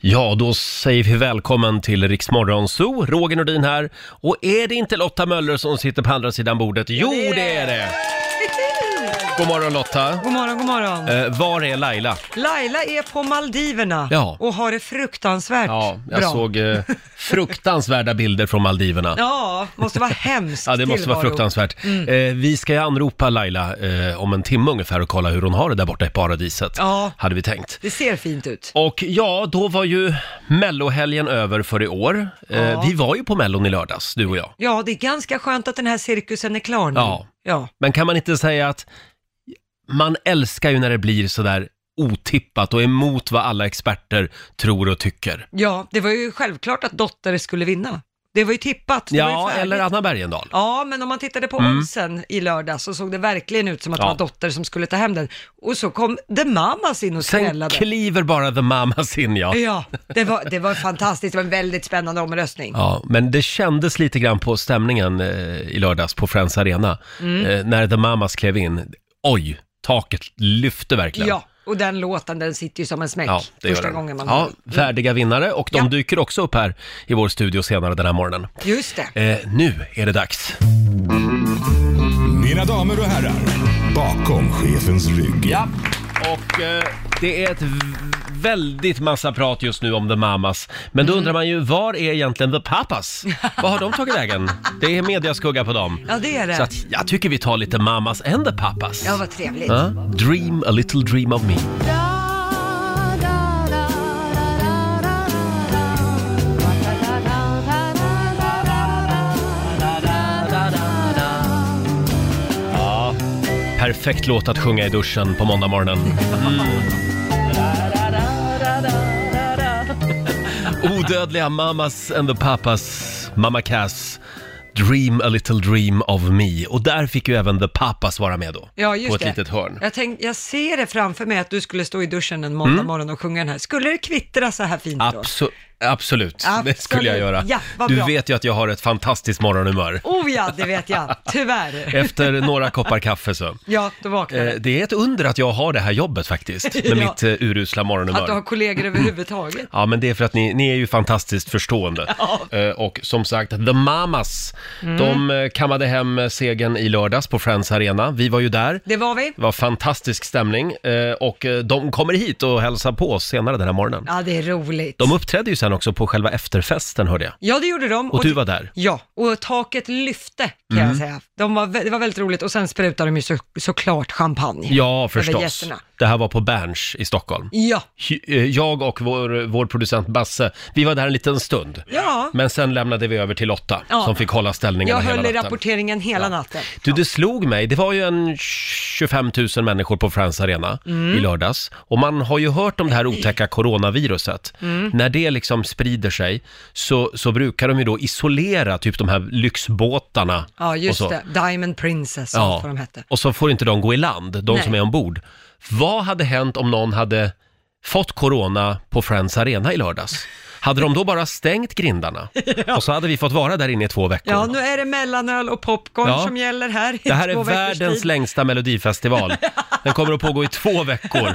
Ja, då säger vi välkommen till Riksmorgon Zoo. Roger Nordin här. Och är det inte Lotta Möller som sitter på andra sidan bordet? Jo, det är det! God morgon Lotta! God morgon, god morgon. Eh, var är Laila? Laila är på Maldiverna Ja. och har det fruktansvärt Ja, jag bra. såg eh, fruktansvärda bilder från Maldiverna. Ja, måste vara hemskt Ja, det måste tillvaro. Mm. vara fruktansvärt. Eh, vi ska ju anropa Laila eh, om en timme ungefär och kolla hur hon har det där borta i paradiset. Ja. Hade vi tänkt. Det ser fint ut. Och ja, då var ju mellohelgen över för i år. Eh, Ja. Mm. Vi var ju på mellon i lördags, du och jag. Ja, det är ganska skönt att den här cirkusen är klar nu. Ja. ja. Men kan man inte säga att man älskar ju när det blir sådär otippat och emot vad alla experter tror och tycker. Ja, det var ju självklart att Dotter skulle vinna. Det var ju tippat. Det var ju Ja, färdigt. eller Anna Bergendahl. Mm. Ja, men om man tittade på oddsen i lördags så såg det verkligen ut som att det Ja. var Dotter som skulle ta hem den. Och så kom The Mamas in och Sen skrällade. kliver bara The Mamas in, ja. Ja, det var, det var fantastiskt. Det var en väldigt spännande omröstning. Ja, men det kändes lite grann på stämningen eh, i lördags på Friends Arena. Mm. Eh, när The Mamas klev in. Oj, taket lyfte verkligen. Ja, och den låten den sitter ju som en smäck Ja, det första gör den. gången man ja, hör den. Mm. Värdiga vinnare och de Ja. dyker också upp här i vår studio senare den här morgonen. Just det. Eh, nu är det dags. Mina damer och herrar, bakom chefens rygg. Ja, och eh, det är ett v- väldigt massa prat just nu om The Mamas. Men Mm. då undrar man ju, var är egentligen The Papas? Vad har de tagit vägen? Det är mediaskugga på dem. Ja, det är Så det. att jag tycker vi tar lite Mamas and The Papas. Ja, vad trevligt. Ja, Dream a little dream of me. Ja, perfekt låt att sjunga i duschen på måndag morgonen. Mm. Odödliga Mamas and the Papas, Mamma Cass. Dream a little dream of me. Och där fick ju även The Papas vara med då. Ja, just på ett det. litet hörn. Jag, tänk, jag ser det framför mig att du skulle stå i duschen en Mm. måndag morgon och sjunga den här. Skulle det kvittra så här fint då? Abso- absolut, Absolut. det skulle jag göra. Ja, vad du bra. vet ju att jag har ett fantastiskt morgonhumör. Oh ja, det vet jag. Tyvärr. Efter några koppar kaffe så. Ja, då vaknade Eh, jag. Det är ett under att jag har det här jobbet faktiskt, med Ja. mitt eh, urusla Att du har morgonhumör. kollegor överhuvudtaget. Ja, men det är för att ni, ni är ju fantastiskt förstående. Eh, Och som sagt, The Mamas, Mm. de eh, kammade hem eh, segern i lördags på Friends Arena. Vi var ju där. Det var vi. Det var fantastisk stämning eh, och eh, de kommer hit och hälsar på oss senare den här morgonen. Ja, det är roligt. De uppträdde ju sen också på själva efterfesten hörde jag. Ja, det gjorde de. Och du var där. Mm. Ja, och taket lyfte kan jag säga. De var, vä- det var väldigt roligt och sen sprutade de ju så, såklart champagne. Ja, Över förstås. gästerna. Det här var på Berns i Stockholm. Ja, Hy- eh, Jag och vår, vår producent Basse, vi var där en liten stund. Ja. Men sen lämnade vi över till Lotta Ja. som fick hålla ställningarna jag hela höll i natten. rapporteringen hela natten. Du, det slog mig. Det var ju en 25 000 människor på Friends Arena Mm. i lördags. Och man har ju hört om det här otäcka coronaviruset. Mm. När det liksom sprider sig så, så brukar de ju då isolera typ de här lyxbåtarna. Ja, och just så. det. Diamond Princess, ja. vad de hette. Och så får inte de gå i land, de Nej. som är ombord. Vad hade hänt om någon hade fått corona på Friends Arena i lördags? Hade de då bara stängt grindarna? Och så hade vi fått vara där inne i två veckor. Ja, nu är det mellanöl och popcorn Ja. som gäller här. i det här två är veckors världens tid. längsta melodifestival. Den kommer att pågå i två veckor.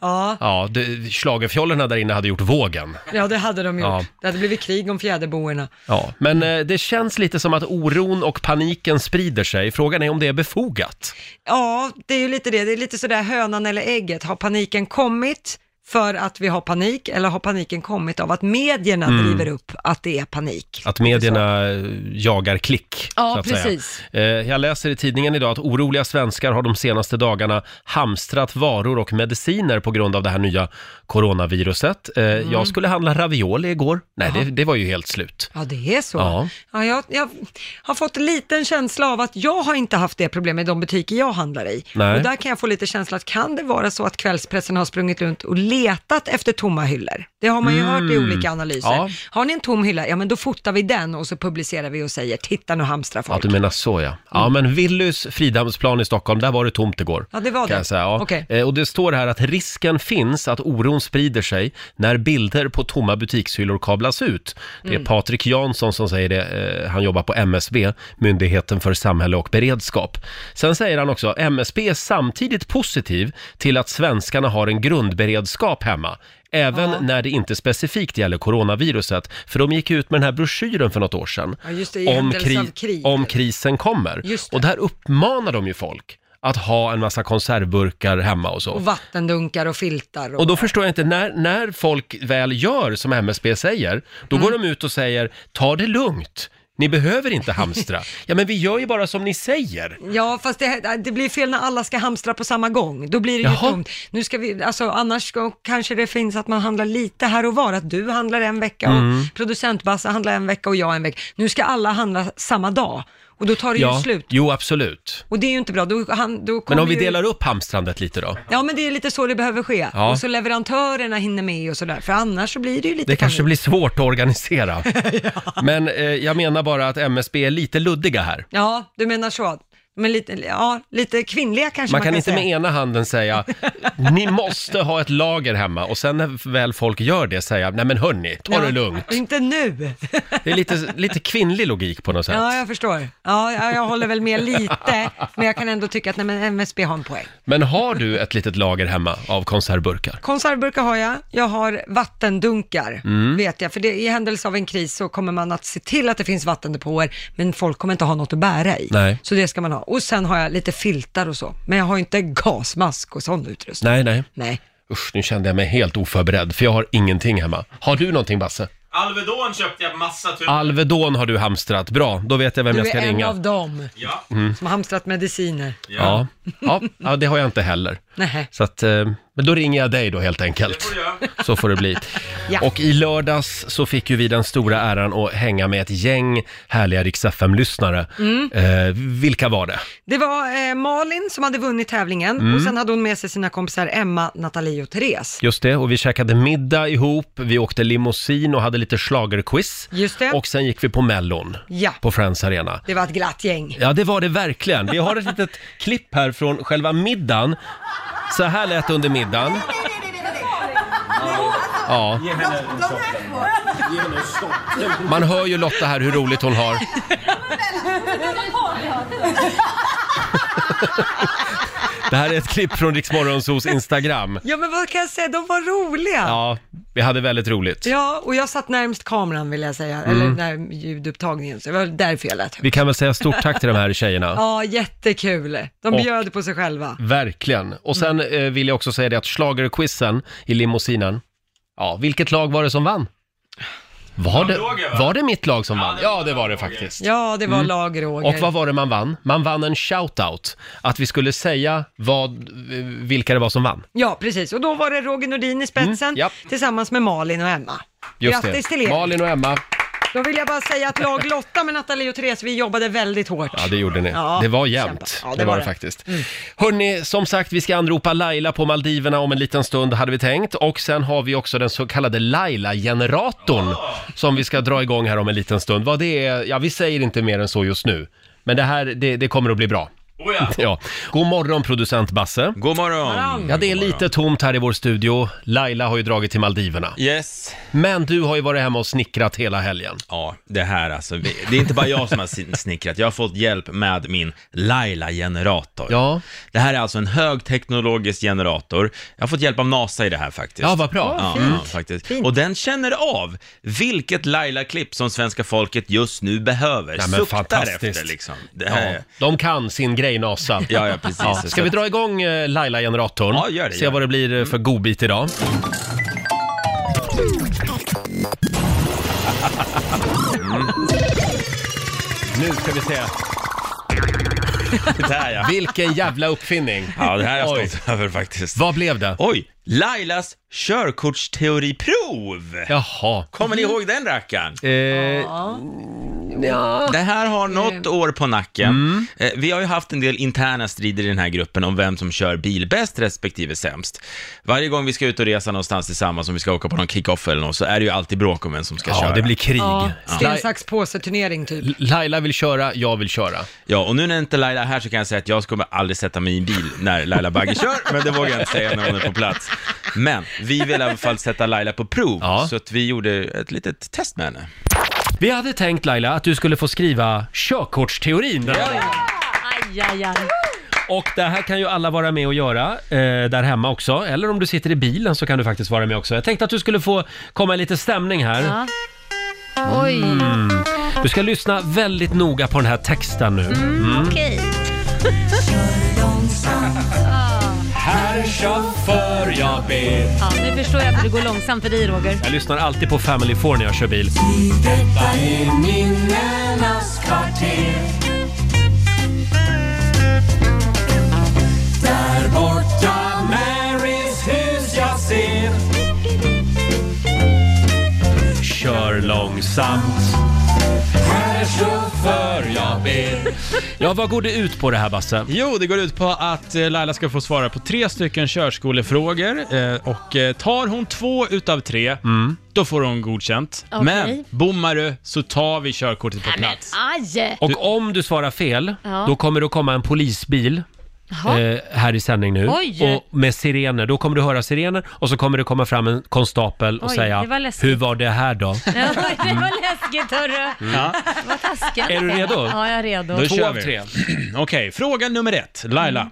Ja, Ja, det- schlagerfjollorna där inne hade gjort vågen. ja, det hade de gjort. Ja. Det hade blivit krig om fjäderboerna. Ja, men eh, det känns lite som att oron och paniken sprider sig. Frågan är om det är befogat. Ja, det är ju lite det. Det är lite sådär hönan eller ägget. Har paniken kommit för att vi har panik eller har paniken kommit av att medierna Mm. driver upp att det är panik? Att medierna eh, jagar klick, Ja, så att precis. säga. Eh, Jag läser i tidningen idag att oroliga svenskar har de senaste dagarna hamstrat varor och mediciner på grund av det här nya coronaviruset. Eh, Mm. Jag skulle handla ravioli igår. Nej, det, det var ju helt slut. Ja, det är så. Ja. Ja. jag, jag har fått en liten känsla av att jag har inte haft det problemet i de butiker jag handlar i. Nej. Och där kan jag få lite känsla att kan det vara så att kvällspressen har sprungit runt och letat efter tomma hyllor? Det har man ju hört i olika analyser. Mm. Ja. Har ni en tom hylla, ja men då fotar vi den och så publicerar vi och säger titta nu hamstrar Ja, folk. Mm. du menar så ja. Ja, men Willys Fridhamnsplan i Stockholm, där var det tomt igår. Ja, det var kan det. Jag säga, ja. Okej. Eh, Och det står här att risken finns att oron sprider sig när bilder på tomma butikshyllor kablas ut. Det Mm. är Patrik Jansson som säger det. Eh, Han jobbar på MSB, Myndigheten för samhälle och beredskap. Sen säger han också, MSB är samtidigt positiv till att svenskarna har en grundberedskap budskap hemma, även när det inte specifikt gäller coronaviruset. För de gick ut med den här broschyren för något år sedan. Ja, just det, i händelse av krig. om krisen kommer. Just det. Och där uppmanar de ju folk att ha en massa konservburkar hemma och så. Och vattendunkar och filtar. Och, Och då förstår jag inte, när, när folk väl gör som MSB säger, då går Mm. de ut och säger ta det lugnt, ni behöver inte hamstra. ja men vi gör ju bara som ni säger. Ja, fast det, det blir fel när alla ska hamstra på samma gång. Då blir det ju Jaha. tomt. Nu ska vi, alltså, annars ska, kanske det finns att man handlar lite här och var. Att du handlar en vecka Mm. och producent Basse handlar en vecka och jag en vecka. Nu ska alla handla samma dag och då tar det ju slut. jo absolut. Och det är ju inte bra. Då, han, då Men kommer om vi ju- delar upp hamstrandet lite då? Ja, men det är lite så det behöver ske. Ja. Och så leverantörerna hinner med och sådär. För annars så blir det ju lite Det kanske panik. blir svårt att organisera. Men eh, jag menar bara att MSB är lite luddiga här. Ja, du menar så. Men lite, ja, lite kvinnliga kanske man, Man kan inte säga. med ena handen säga ni måste ha ett lager hemma och sen när väl folk gör det säga nej men hörni, ta det Ja, lugnt. Inte nu. Det är lite, lite kvinnlig logik på något sätt. Ja, jag förstår. Ja, jag, jag håller väl med lite, men jag kan ändå tycka att nej, men MSB har en poäng. Men har du ett litet lager hemma av konservburkar? Konservburkar har jag, jag har vattendunkar, Mm. vet jag. För det, i händelse av en kris så kommer man att se till att det finns vattendepåer, men folk kommer inte ha något att bära i. Nej. Så det ska man ha. Och sen har jag lite filtar och så, men jag har inte gasmask och sån utrustning. Nej, nej. Nej. Usch, nu kände jag mig helt oförberedd för jag har ingenting hemma. Har du någonting Basse? Alvedon köpte jag massa tur. Bra, då vet jag vem Du jag ska är en ringa. Mm. av dem Ja. som har hamstrat mediciner. Ja. Ja. Ja. ja, det har jag inte heller. Nej. Så att, eh, men då ringer jag dig då helt Det enkelt. får du göra. Så får det bli. Ja. Och i lördags så fick ju vi den stora äran att hänga med ett gäng härliga Rix lyssnare Mm. eh, Vilka var det? Det var eh, Malin som hade vunnit tävlingen Mm. och sen hade hon med sig sina kompisar Emma, Nathalie och Therese. Just det, och vi käkade middag ihop, vi åkte limousin och hade lite schlagerquiz. Just det. Och sen gick vi på Mellon Ja. på Friends Arena. Det var ett glatt gäng. Ja, det var det verkligen. Vi har ett litet klipp här från själva middagen. Så här lät det under middagen. Ja, man hör ju Lotta här hur roligt hon har. Det här är ett klipp från Riksmorgonsos Instagram. Ja men vad kan jag säga, de var roliga. Ja. Ja, vi hade väldigt roligt. och jag satt närmst kameran vill jag säga, eller Mm. när ljudupptagningen, så det var därför jag lät högt. Vi kan väl säga stort tack till de här tjejerna. Ja, jättekul. De Och- bjöd på sig själva. Verkligen. Och sen Mm. eh, vill jag också säga det att schlagerquizen i limousinen, ja, vilket lag var det som vann? Var det, Roger, va? var det mitt lag som vann? det var Ja, det var det Roger. faktiskt. Mm. Ja, det var lag Roger. Och vad var det man vann? Man vann en shout-out. Att vi skulle säga vad, eh, vilka det var som vann. Ja, precis. Och då var det Roger Nordin i spetsen ja. tillsammans med Malin och Emma. Mm, Just Grattis till det. er. Malin och Emma, Då vill jag bara säga att lag Lotta med Nathalie och Therese, vi jobbade väldigt hårt. ja det gjorde ni. Ja, det var kämpa. jämnt. Ja, det, var det faktiskt. Hörni, som sagt, vi ska anropa Laila på Maldiverna om en liten stund, hade vi tänkt. Och sen har vi också den så kallade Laila-generatorn som vi ska dra igång här om en liten stund. Vad det är, ja vi säger inte mer än så just nu. Men det här, det, det kommer att bli bra. Oh, ja. Ja. God morgon producent Basse. God morgon. Ja, det är lite tomt här i vår studio. Laila har ju dragit till Maldiverna. Yes. Men du har ju varit hemma och snickrat hela helgen. Ja, det här alltså. vi- Det är inte bara jag som har sin- snickrat. Jag har fått hjälp med min Laila-generator. Ja, Det här är alltså en högteknologisk generator. Jag har fått hjälp av NASA i det här faktiskt. ja vad bra. Ja, ja, faktiskt. Fint. Och den känner av vilket Laila-klipp som svenska folket just nu behöver. men Suktar fantastiskt. efter liksom. Det här Ja, är- de kan sin grej NASA. Ja, ja, precis. Ja. Ska vi dra igång eh, Laila-generatorn? Ja, gör det, Mm. Se gör vad det blir eh, för godbit idag. Mm. Nu ska vi se. Det här ja. Vilken jävla uppfinning. Ja, det här är Oj. jag stolt över faktiskt. Vad blev det? Oj, Lailas körkortsteoriprov! Jaha. Kommer ni ihåg den rackaren? Eh, ja. Det här har något år på nacken. Mm. Eh, Vi har ju haft en del interna strider i den här gruppen om vem som kör bil bäst respektive sämst. Varje gång vi ska ut och resa någonstans tillsammans, om vi ska åka på någon kick-off eller något, så är det ju alltid bråk om vem som ska ja, köra. det blir krig. Ja, sten, Lai- sax, påse turnering typ. Laila vill köra, jag vill köra. Ja, och nu när inte Laila är här så kan jag säga att jag kommer aldrig sätta mig i en bil när Laila Bagge kör, men det vågar jag inte säga när hon är på plats. Men vi vill i alla fall sätta Laila på prov, Ja. så att vi gjorde ett litet test med henne. Vi hade tänkt Laila att du skulle få skriva körkortsteorin. den här dagen. Aj, aj, aj. Och det här kan ju alla vara med och göra eh, där hemma också. Eller om du sitter i bilen så kan du faktiskt vara med också. Jag tänkte att du skulle få komma i lite stämning här. Mm. Ja. Mm. Oj, Du ska lyssna väldigt noga på den här texten nu. Mm, Mm. okej. Herr chaufför, jag ber. Ja, nu förstår jag att det går långsamt för dig Roger. Jag lyssnar alltid på Family Four när jag kör bil. Kör långsamt. Herr chaufför, jag ber. Ja, vad går det ut på det här, Basse? Jo, det går ut på att eh, Laila ska få svara på tre stycken körskolefrågor eh, och eh, tar hon två utav tre, Mm. då får hon godkänt. Okej. Men bommar du så tar vi körkortet på Men plats. aj! Och om du svarar fel, Ja. då kommer det att komma en polisbil Jaha. eh, här i sändning nu. Oj. Och med sirener. Då kommer du höra sirener och så kommer det komma fram en konstapel och Oj, säga det var läskigt. Hur var det här då? Ja, det var läskigt hörru. Vad taskigt. Är du redo? Ja, jag Mm. är redo. Mm. Då Två kör av vi. tre. Okej, fråga nummer ett. Laila.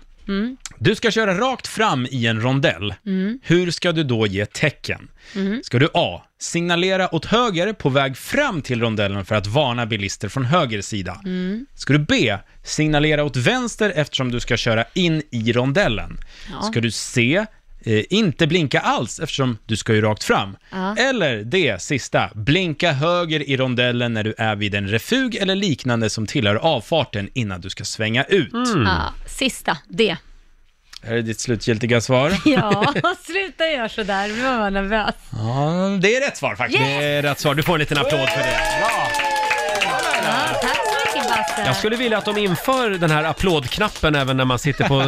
Du ska köra rakt fram i en rondell. Mm. Hur ska du då ge tecken? Mm. Ska du A. Signalera åt höger på väg fram till rondellen för att varna bilister från höger sida. Mm. Mm. Ska du B. Signalera åt vänster eftersom du ska köra in i rondellen. Ja. Ska du C. Eh, inte blinka alls eftersom du ska ju rakt fram. Ja. Eller det sista, blinka höger i rondellen när du är vid en refug eller liknande som tillhör avfarten innan du ska svänga ut. Mm. Ja, sista, det. Här är ditt slutgiltiga svar. Ja, sluta göra sådär, nu var jag nervös. Ja, det är rätt svar faktiskt. Yes! Det är Eh, rätt svar. Du får en liten applåd för det. Ja, tack så mycket Jag Basse. skulle vilja att de inför den här applådknappen även när man sitter på,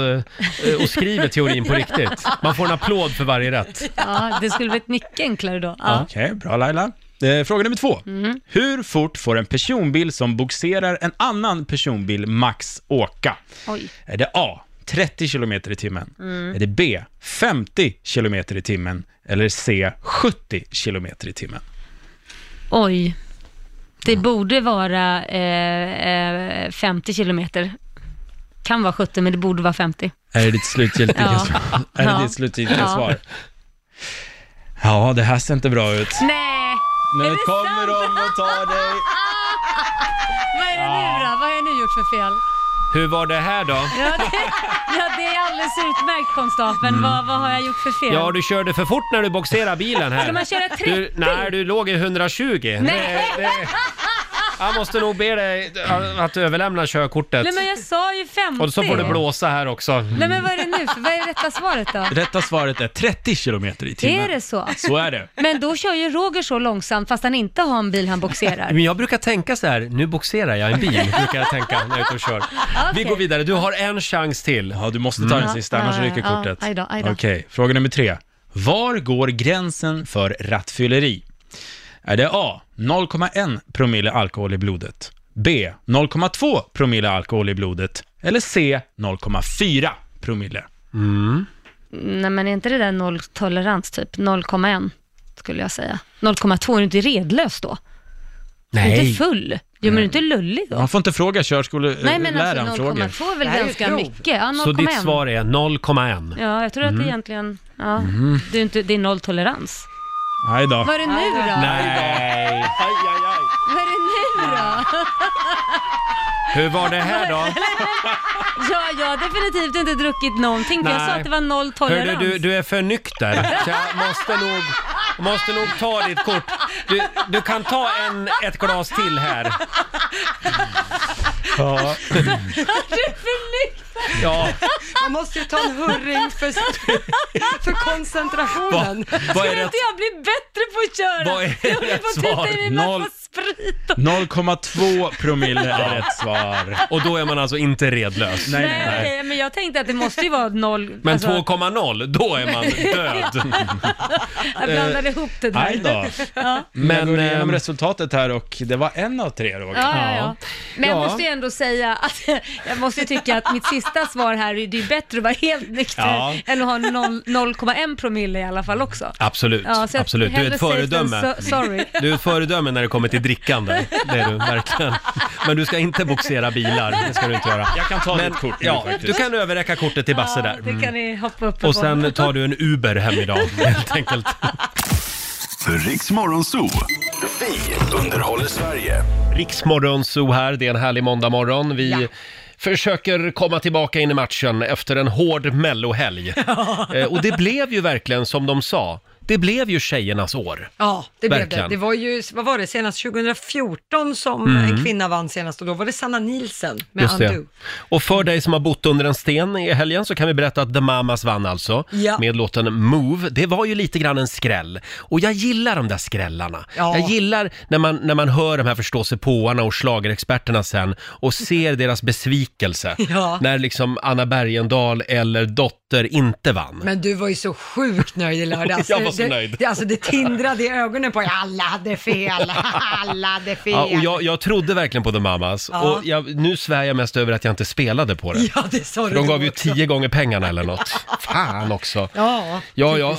eh, och skriver teorin på riktigt. Man får en applåd för varje rätt. Ja, det skulle blivit mycket enklare då. Ja. Mm. Okej, bra Laila. Eh, Fråga nummer två. Hur fort får en personbil som boxerar en annan personbil max åka? Oj. Är det A. 30 km i timmen? Mm. Är det B. 50 km i timmen? Eller C. 70 km i timmen? Oj. Det borde vara eh, eh, 50 kilometer. Kan vara 70, men det borde vara 50. Är det ditt slutgiltiga Ja. svar? Är det Ja. ditt slutgiltiga Ja. svar? Ja, det här ser inte bra ut. Nej! Nu Är det kommer sant? de och tar dig. Vad är det nu då? Vad har jag nu gjort för fel? Hur var det här då? Ja, det, ja, det är alldeles utmärkt konstapeln. Vad, vad har jag gjort för fel? Ja, du körde för fort när du boxerade bilen här. Ska man köra 30? Du, nej, du låg i 120. Nej. Det, det, jag måste nog be dig att överlämna körkortet. Nej men jag sa ju 50. Och så får du blåsa här också. Nej men vad är det nu för, vad är rätta svaret då? Rätta svaret är 30 km i timmen. Är det så? Så är det. Men då kör ju Roger så långsamt fast han inte har en bil han boxerar. Men jag brukar tänka så här, nu boxerar jag en bil, brukar jag tänka när jag är ute och kör. Vi Okej. går vidare, du har en chans till. Ja, du måste ta den sista, Ja, annars Mm. ja, ryker ja. kortet. Aj då, aj då. Okej, fråga nummer tre. Var går gränsen för rattfylleri? Är det A. 0,1 promille alkohol i blodet? B. 0,2 promille alkohol i blodet? Eller C. 0,4 promille? Nej men är inte det där nolltolerans typ? 0,1 skulle jag säga. 0,2, är du inte redlös då? Är du inte full? Jo men är du inte lullig då? Man får inte fråga Nej men körskoleläraren alltså frågor. 0,2 är väl Det här är ju ganska prov. mycket? Ja, 0,1. Så ditt svar är 0,1. Ja, jag tror att det egentligen, ja, det, är inte, det är nolltolerans. Mhm. Aj då. Vad är det nu då? Nej! Vad är det nu då? Hur var det här då? Ja, jag har definitivt inte druckit någonting, för jag Nej. sa att det var nolltolerans. Hörru, du, du är för nykter. Så jag måste nog, måste nog ta ditt kort. Du, du kan ta en, ett glas till här. Ja. Ja, Man måste ju ta en hurring för, för koncentrationen. vad är Skulle rätt? inte jag bli bättre på att köra? Vad är jag vill rätt få tuta i svar? mig massa Noll- sprit och... 0,2 promille är rätt svar. Och då är man alltså inte redlös. Nej, Nej, okej, men jag tänkte att det måste ju vara noll... Men alltså, 2,0, då är man död. Eh, Jag blandade ihop det där. Aj då. Men jag Men, går igenom ehm, resultatet här och det var en av tre Roger. Ja, ja, ja. Men jag Ja. måste ju ändå säga att jag måste ju tycka att mitt sista svar här, är- det är ju bättre att vara helt nykter Ja. än att ha noll- 0,1 promille i alla fall också. Absolut, Ja, så jag absolut. Du är hellre ett safe than föredöme. so- sorry. Du är ett föredöme när det kommer till mycket drickande, det är du verkligen. Men du ska inte boxera bilar, det ska du inte göra. Jag kan ta Men, ditt kort nu ja, faktiskt. du kan överräcka kortet till Basse där. Mm. det kan ni hoppa upp Och sen tar du en Uber hem idag, helt enkelt. Riks Morgonzoo. Vi underhåller Sverige. Riksmorgon Zoo här, det är en härlig måndagmorgon. Vi försöker komma tillbaka in i matchen efter en hård mellohelg. Eh, Och det blev ju verkligen som de sa, det blev ju tjejernas år. Ja, det blev Verkligen. Mm. det. Det var ju, vad var det, senast 2014 som en kvinna vann senast och då var det Sanna Nielsen med Just det. Undo. Och för dig som har bott under en sten i helgen så kan vi berätta att The Mamas vann alltså Ja. med låten Move. Det var ju lite grann en skräll. Och jag gillar de där skrällarna. Ja. Jag gillar när man, när man hör de här förståsigpåarna och schlagerexperterna sen och ser deras besvikelse. Ja. När liksom Anna Bergendahl eller Dotter inte vann. Men du var ju så sjukt nöjd i lördags. Jag var så det, nöjd. Det, alltså det tindrade i ögonen på er. Alla hade fel, alla hade fel. Ja, och jag, jag trodde verkligen på The Mamas Ja. och jag, nu svär jag mest över att jag inte spelade på det. Ja, det sa du De gav då ju också. tio gånger pengarna eller något. Fan också. Ja, Ja, ja.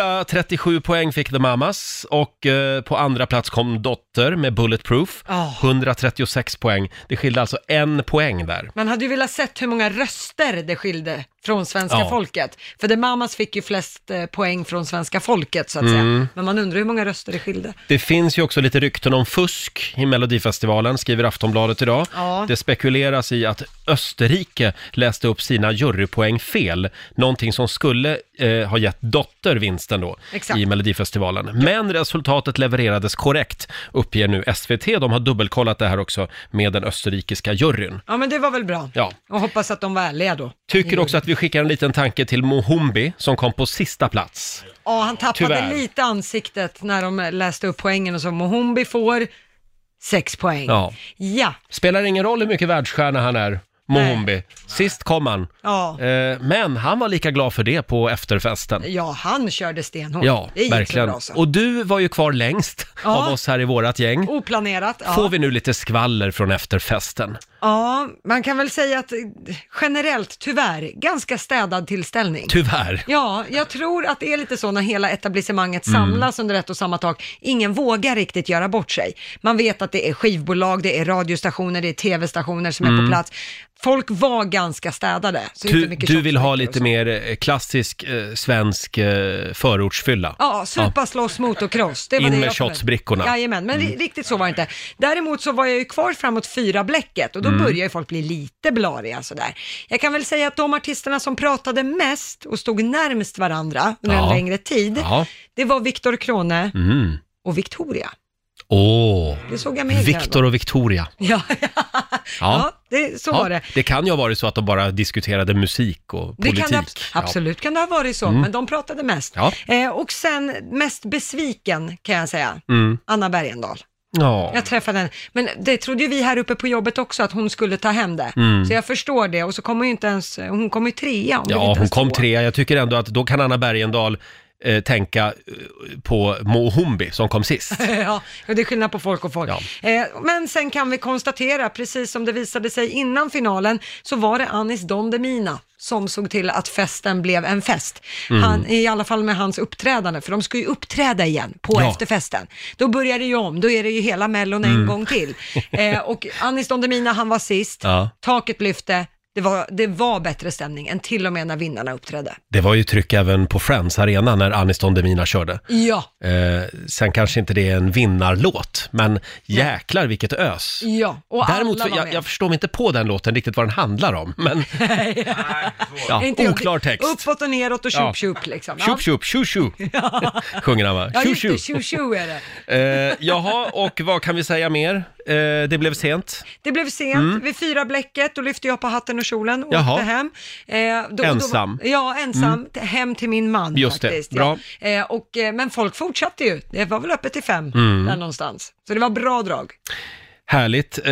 137 poäng fick The Mamas och eh, på andra plats kom Dotter med Bulletproof. Ja. 136 poäng. Det skilde alltså en poäng där. Man hade ju velat sett hur många röster det skilde från svenska Ja. folket. För The Mamas fick ju flest eh, poäng från svenska folket så att Mm. säga. Men man undrar hur många röster det skilde. Det finns ju också lite rykten om fusk i Melodifestivalen, skriver Aftonbladet idag. Ja. Det spekuleras i att Österrike läste upp sina jurypoäng fel, någonting som skulle eh, ha gett Dotter vinsten då Exakt. i Melodifestivalen. Men resultatet levererades korrekt, uppger nu SVT. De har dubbelkollat det här också med den österrikiska juryn. Ja, men det var väl bra. Ja. Och hoppas att de var ärliga då. Tycker också att vi skickar en liten tanke till Mohombi som kom på sista plats. Ja, han tappade Tyvärr. lite ansiktet när de eh, läste upp poängen och så. Mohombi får sex poäng. Ja. Ja, Spelar ingen roll hur mycket världsstjärna han är, Mohombi. Sist kom han. ja. Eh, Men han var lika glad för det på efterfesten. ja han körde stenhårt. Ja, det gick så verkligen. Bra, så. Och du var ju kvar längst Ja. av oss här i vårat gäng. Oplanerat. Ja. Får vi nu lite skvaller från efterfesten? ja, man kan väl säga att eh, generellt, tyvärr, ganska städad tillställning. Tyvärr. Mm. Ja, jag tror att det är lite så när hela etablissemanget samlas under ett och samma tak. Ingen vågar riktigt göra bort sig. Man vet att det är skivbolag, det är radiostationer, det är tv-stationer som är på plats. Folk var ganska städade. Så Mm. Du, inte mycket du vill ha tjockspöke och lite så. mer eh, klassisk eh, svensk eh, förortsfylla. Ja, supa, slåss, motocross. Det var In det med jag kom shotsbrickorna. Jajamän, men Mm. ri- riktigt så var det inte. Däremot så var jag ju kvar framåt fyra bläcket och då Mm. börjar ju folk bli lite blariga sådär. Jag kan väl säga att de artisterna som pratade mest och stod närmst varandra under Ja. en längre tid, Ja. det var Viktor Krone Mm. och Victoria. Åh, Det såg jag med egna Viktor och Victoria. ögon. Ja, ja. det, så var Ja, det. det kan ju ha varit så att de bara diskuterade musik och Det politik. kan det, abs- Ja. absolut kan det ha varit så, men de pratade mest. Ja. Eh, och sen mest besviken kan jag säga, Mm. Anna Bergendahl. Ja. Jag träffade henne, men det trodde ju vi här uppe på jobbet också att hon skulle ta hem det. Så jag förstår det och så kommer ju inte ens, hon kommer ju trea. blev Mm. Ja, inte hon ens kom tvåa. trea. Jag tycker ändå att då kan Anna Bergendahl eh, tänka eh, på Mohombi som kom sist. Ja, och det är skillnad på folk och folk. Ja. Eh, men sen kan vi konstatera, precis som det visade sig innan finalen, så var det Anis Don Demina som såg till att festen blev en fest. Mm. Han, I alla fall med hans uppträdande, för de ska ju uppträda igen på Ja. Mm. efterfesten. Då börjar det ju om, då är det ju hela Mellon en gång till. Eh, och Anis Don Demina, han var sist, Ja. taket lyfte, det var, det var bättre stämning än till och med när vinnarna uppträdde. Det var ju tryck även på Friends Arena när Anis Don Demina körde. Ja, Eh, sen kanske inte det är en vinnarlåt, men jäklar vilket ös. ja, och Däremot, alla var jag, med. jag förstår mig inte på den låten riktigt vad den handlar om, men ja, Inte jag. oklar text. Uppåt och neråt och Ja. tjup tjup liksom. Ja. Tjup tjup, tju tju, sjunger han va? Ja, Tju just tju. det, tjo tjo är det. Eh, jaha, och vad kan vi säga mer? Eh, det blev sent. Det blev sent, vid fyra bläcket, då lyfte jag på hatten och kjolen och Mm. Jaha. åkte hem. Eh, då- då, Ensam. Mm. ja, ensam, t- hem till min man Just det, faktiskt. bra. Ja. Eh, och, eh, men folk fortsatte ju, det var väl öppet till fem Mm. där någonstans. Så det var bra drag. Härligt. Eh,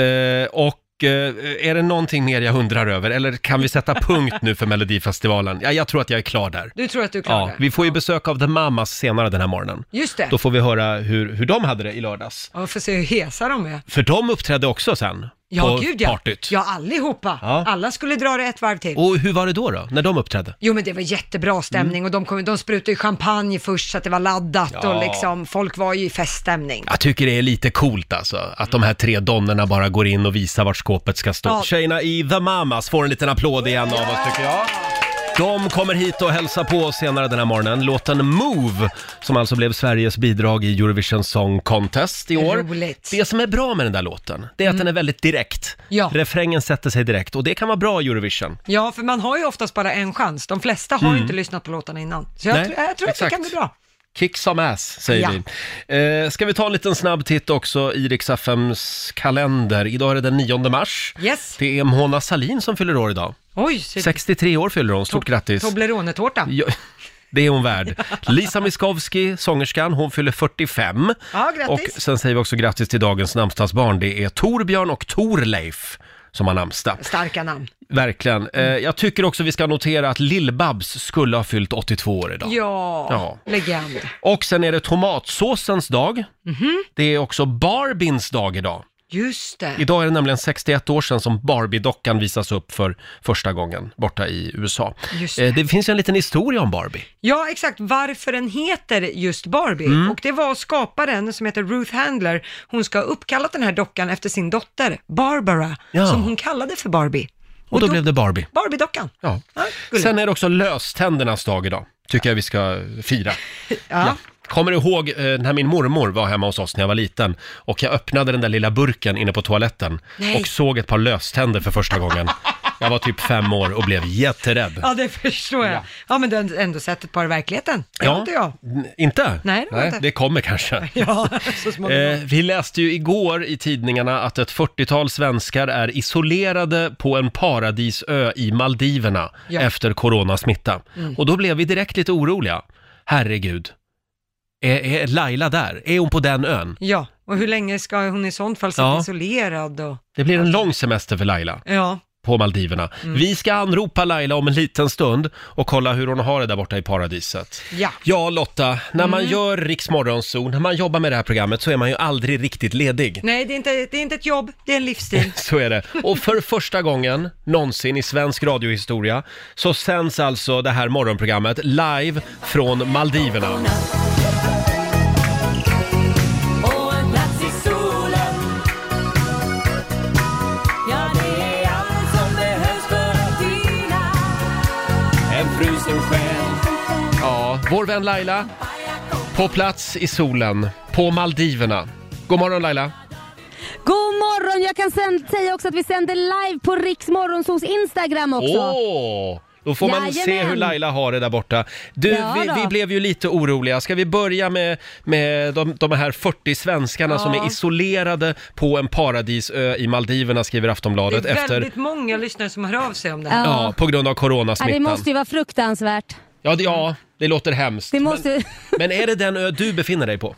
och eh, är det någonting mer jag undrar över? Eller kan vi sätta punkt nu för Melodifestivalen? Ja, jag tror att jag är klar där. Du tror att du klarar Ja, det? vi får ju besök av The Mamas senare den här morgonen. Just det, Då får vi höra hur, hur de hade det i lördags. och får se hur hesa de är. För de uppträdde också sen. på Ja, gud ja. partyt. Ja, allihopa. Ja. Alla skulle dra det ett varv till. Och Mm. hur var det då, då när de uppträdde? Jo men det var jättebra stämning och de, kom, de sprutade ju champagne först så att det var laddat och liksom, folk var ju i feststämning. Jag tycker det är lite coolt alltså, att de här tre donnorna bara går in och visar vart skåpet ska stå. Ja. Tjejerna i The Mamas får en liten applåd igen av oss tycker jag. De kommer hit och hälsar på oss senare den här morgonen. Låten Move, som alltså blev Sveriges bidrag i Eurovision Song Contest i år. Roligt. Det som är bra med den där låten, det är att den är väldigt direkt. Ja. Refrängen sätter sig direkt och det kan vara bra i Eurovision. Ja, för man har ju oftast bara en chans. De flesta har ju inte lyssnat på låtarna innan. Så jag, Mm. Nej, tror- jag tror att det exakt. kan bli bra. Kick some ass, säger Ja. vi. Eh, ska vi ta en liten snabb titt också i Rix FMs kalender. Idag är det den 9 mars. Yes. Det är Mona Salin som fyller år idag. Oj, så- 63 år fyller hon, stort grattis. Toblerone-tårta. Ja, det är hon värd. Lisa Miskovsky, sångerskan, hon fyller 45. Ja, grattis. Och sen säger vi också grattis till dagens namnsdagsbarn. Det är Torbjörn och Torleif som har namnsdag. Starka namn. Verkligen. Eh, jag tycker också vi ska notera att Lill-Babs skulle ha fyllt 82 år idag. Ja, Ja. legend. Och sen är det tomatsåsens dag. Mhm. Det är också Barbins dag idag. Just det. Idag är det nämligen 61 år sedan som Barbie-dockan visas upp för första gången borta i USA. Just Eh, det finns ju en liten historia om Barbie. Ja, exakt varför den heter just Barbie. Mm. Och det var skaparen som heter Ruth Handler. Hon ska ha uppkallat den här dockan efter sin dotter Barbara, Ja. som hon kallade för Barbie. Och då blev det Barbie. Barbie-dockan. Ja. Ja, gulligt. Sen är det också löständernas dag idag. Tycker jag vi ska fira. ja. Kommer du ihåg eh, när min mormor var hemma hos oss när jag var liten och jag öppnade den där lilla burken inne på toaletten Nej. och såg ett par löständer för första gången. Jag var typ fem år och blev jätterädd. Ja, det förstår jag. Ja, men du har ändå sett ett par i verkligheten. Det har inte jag. N- Inte? Nej, det har jag inte. det kommer kanske. Ja, så småningom. Eh, vi läste ju igår i tidningarna att ett 40-tal svenskar är isolerade på en paradisö i Maldiverna Ja. Mm. efter coronasmitta. Och då blev vi direkt lite oroliga. Herregud, är, är Laila där? Är hon på den ön? Ja, och hur länge ska hon i sånt fall sitta Ja. isolerad? Och... Det blir en lång semester för Laila Ja, Mm. på Maldiverna. Vi ska anropa Laila om en liten stund och kolla hur hon har det där borta i paradiset. Ja. ja Lotta, när man gör Riks Morgonzoo, när man jobbar med det här programmet så är man ju aldrig riktigt ledig. nej det är, inte, det är inte ett jobb, det är en livsstil. Så är det. Och för första gången någonsin i svensk radiohistoria så sänds alltså det här morgonprogrammet live från Maldiverna. Och en plats i solen Ja, det är allt som behövs för att vila En frusen själ. Ja, vår vän Laila på plats i solen på Maldiverna. God morgon Laila. God morgon! Jag kan sen- säga också att vi sänder live på Riks Morgonzos Instagram också. Åh! Då får man se Jajamän. hur Laila har det där borta. Du, Ja vi, då. vi blev ju lite oroliga. Ska vi börja med, med de, de här 40 svenskarna som är isolerade på en paradisö i Maldiverna, skriver Det Aftonbladet. är efter... väldigt många lyssnare som hör av sig om det här. Ja. Ja, på grund av Ja, det coronasmittan. måste ju vara fruktansvärt. Ja, det, ja, det låter hemskt. Det måste... Men är det den ö du befinner dig på?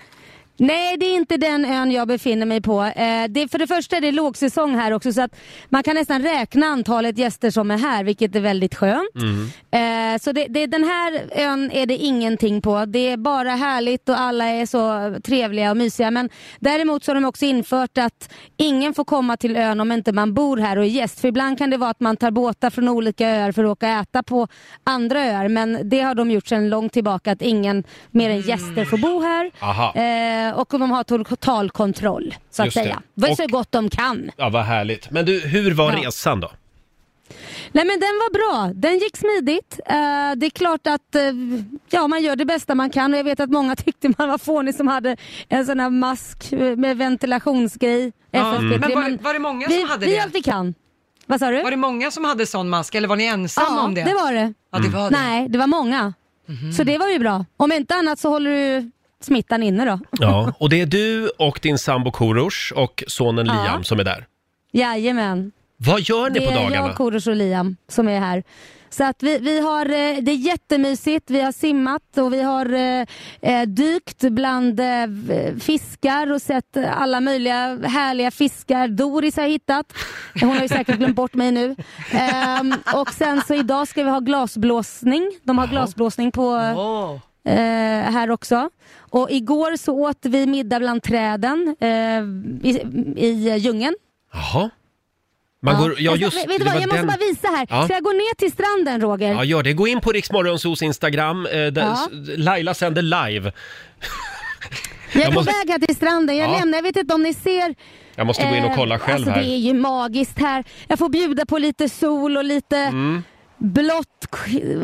Nej, det är inte den ön jag befinner mig på. Eh, det, för det första är det lågsäsong här också så att man kan nästan räkna antalet gäster som är här, vilket är väldigt skönt. Mm. Eh, så det, det, den här ön är det ingenting på. Det är bara härligt och alla är så trevliga och mysiga. Men däremot så har de också infört att ingen får komma till ön om inte man bor här och är gäst. För ibland kan det vara att man tar båtar från olika öar för att åka och äta på andra öar. Men det har de gjort sedan långt tillbaka att ingen mer än gäster får bo här. Aha. Eh, och de har total kontroll, så att Just det. säga. Vad Och- så gott de kan. Ja, vad härligt. Men du, hur var Ja. resan då? Nej men den var bra. Den gick smidigt. Eh, det är klart att eh, ja, man gör det bästa man kan och jag vet att många tyckte man var fånig som hade en sån här mask eh, med ventilationsgrej. FFP3, Mm. Men var, var det många vi, som hade vi det? allt vi kan. Vad sa du? Var det många som hade sån mask eller var ni ensamma ja, om det? det var det. Ja, det var det. Mhm. Nej, det var många. Så det var ju bra. Om inte annat så håller du smittan inne då. Ja, och det är du och din sambo Korosh och sonen Ja. Liam som är där. Jajamän. Vad gör ni Det på är dagarna? jag, Korosh och Liam som är här. Så att vi, vi har, eh, det är jättemysigt. Vi har simmat och vi har eh, eh, dykt bland eh, v- fiskar och sett eh, alla möjliga härliga fiskar. Doris har jag hittat. Hon har ju säkert glömt bort mig nu. Ehm, och sen så idag ska vi ha glasblåsning. De har glasblåsning på Åh. eh, här också. Och igår så åt vi middag bland träden eh, i, i djungeln. Jaha. Man går, ja, Jag ska- just, vet du det vad, var jag måste den- bara visa här. Ja. Ska jag gå ner till stranden Roger? Ja, gör det. Gå in på Riksmorgonsos Instagram. Eh, där, Ja. Laila sänder live. jag är jag på måste- väg här till stranden. Jag Ja. lämnar, jag vet inte om ni ser. Jag måste gå in och eh, kolla själv alltså, Det är här. ju magiskt här. Jag får bjuda på lite sol och lite blått k-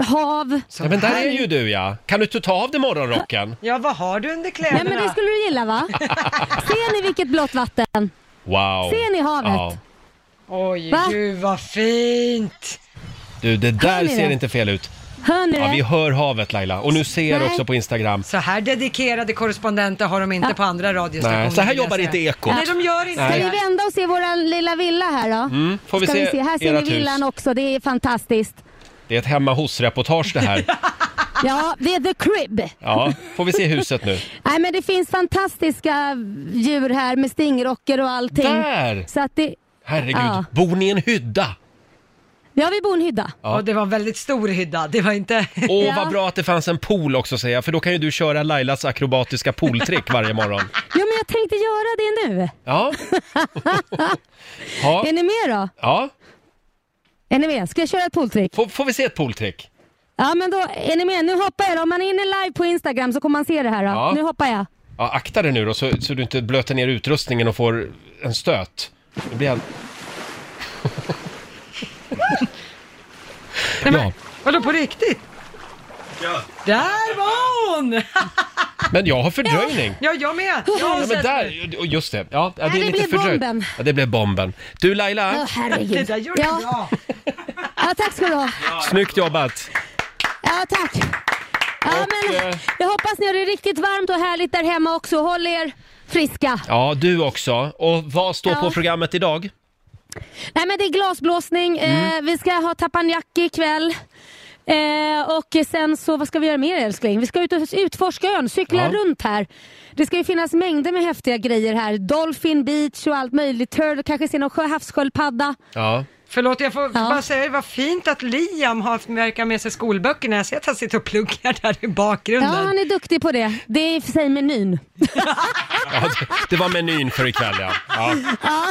hav. Mm. Ja, men där är ju du ja. Kan du inte ta av dig morgonrocken? Ja, vad har du under kläderna? Nej men det skulle du gilla va? Ser ni vilket blått vatten? Wow. Ser ni havet? Ja. Oj, Va? gud vad fint! Du, det Hör där ni ser det? inte fel ut. Hör ni Ja, vi det? hör havet Laila. Och nu ser jag Nej. också på Instagram. Så här dedikerade korrespondenter har de inte på andra radiostationer. Nej, så här vill jag jobbar säga. inte Ekot. Nej, de gör inte Ska vi det. vända och se våran lilla villa här då? Mm, får vi Ska se, vi se. Här ser ert ni villan hus. också, det är fantastiskt. Det är ett hemma hos-reportage det här. Ja, det är the crib. Ja, får vi se huset nu. Nej men det finns fantastiska djur här med stingrocker och allting. Där! Så att det... Herregud, Ja. bor ni i en hydda? Ja, vi bor i en hydda. Ja. Och det var en väldigt stor hydda. Det var inte... Åh, Ja. vad bra att det fanns en pool också säger jag, för då kan ju du köra Lailas akrobatiska pooltrick varje morgon. Ja, men jag tänkte göra det nu. Ja. ja. Är ni med då? ja. Är ni med? Ska jag köra ett pooltrick? Får, får vi se ett pooltrick? Ja, men då är ni med. Nu hoppar jag då. Om man är inne live på Instagram så kommer man se det här då. Ja. Nu hoppar jag. Ja, akta dig nu då så, så du inte blöter ner utrustningen och får en stöt. Det blir all... Nej, men, Ja. Vadå på riktigt? Där var hon! Men jag har fördröjning. Ja, jag med. Jag har Ja, men sett- där, och just det. Ja, det, är Nej, det lite blev fördröjt. bomben. Ja, det blev bomben. Du Laila, Åh herregud. Det där gjorde du ja. bra. ja, tack ska du ha. snyggt jobbat. Ja, tack. Ja, Och, eh, men jag hoppas ni har det riktigt varmt och härligt där hemma också. Håll er friska. Ja, du också. Och vad står Ja. på programmet idag? Nej, men det är glasblåsning. Mm. Eh, vi ska ha tapanjaki ikväll. Eh, och sen så, vad ska vi göra mer älskling? Vi ska ut och utforska ön, cykla Ja. runt här. Det ska ju finnas mängder med häftiga grejer här. Dolphin beach och allt möjligt. Turtle, kanske se någon sjö- havssköldpadda. Ja. Förlåt, jag får Ja. bara säga det var fint att Liam har verkar med sig skolböckerna. Jag ser att han sitter och pluggar där i Ja, bakgrunden. han är duktig på det. Det är i och för sig menyn. Ja, det- det var menyn för ikväll ja. ja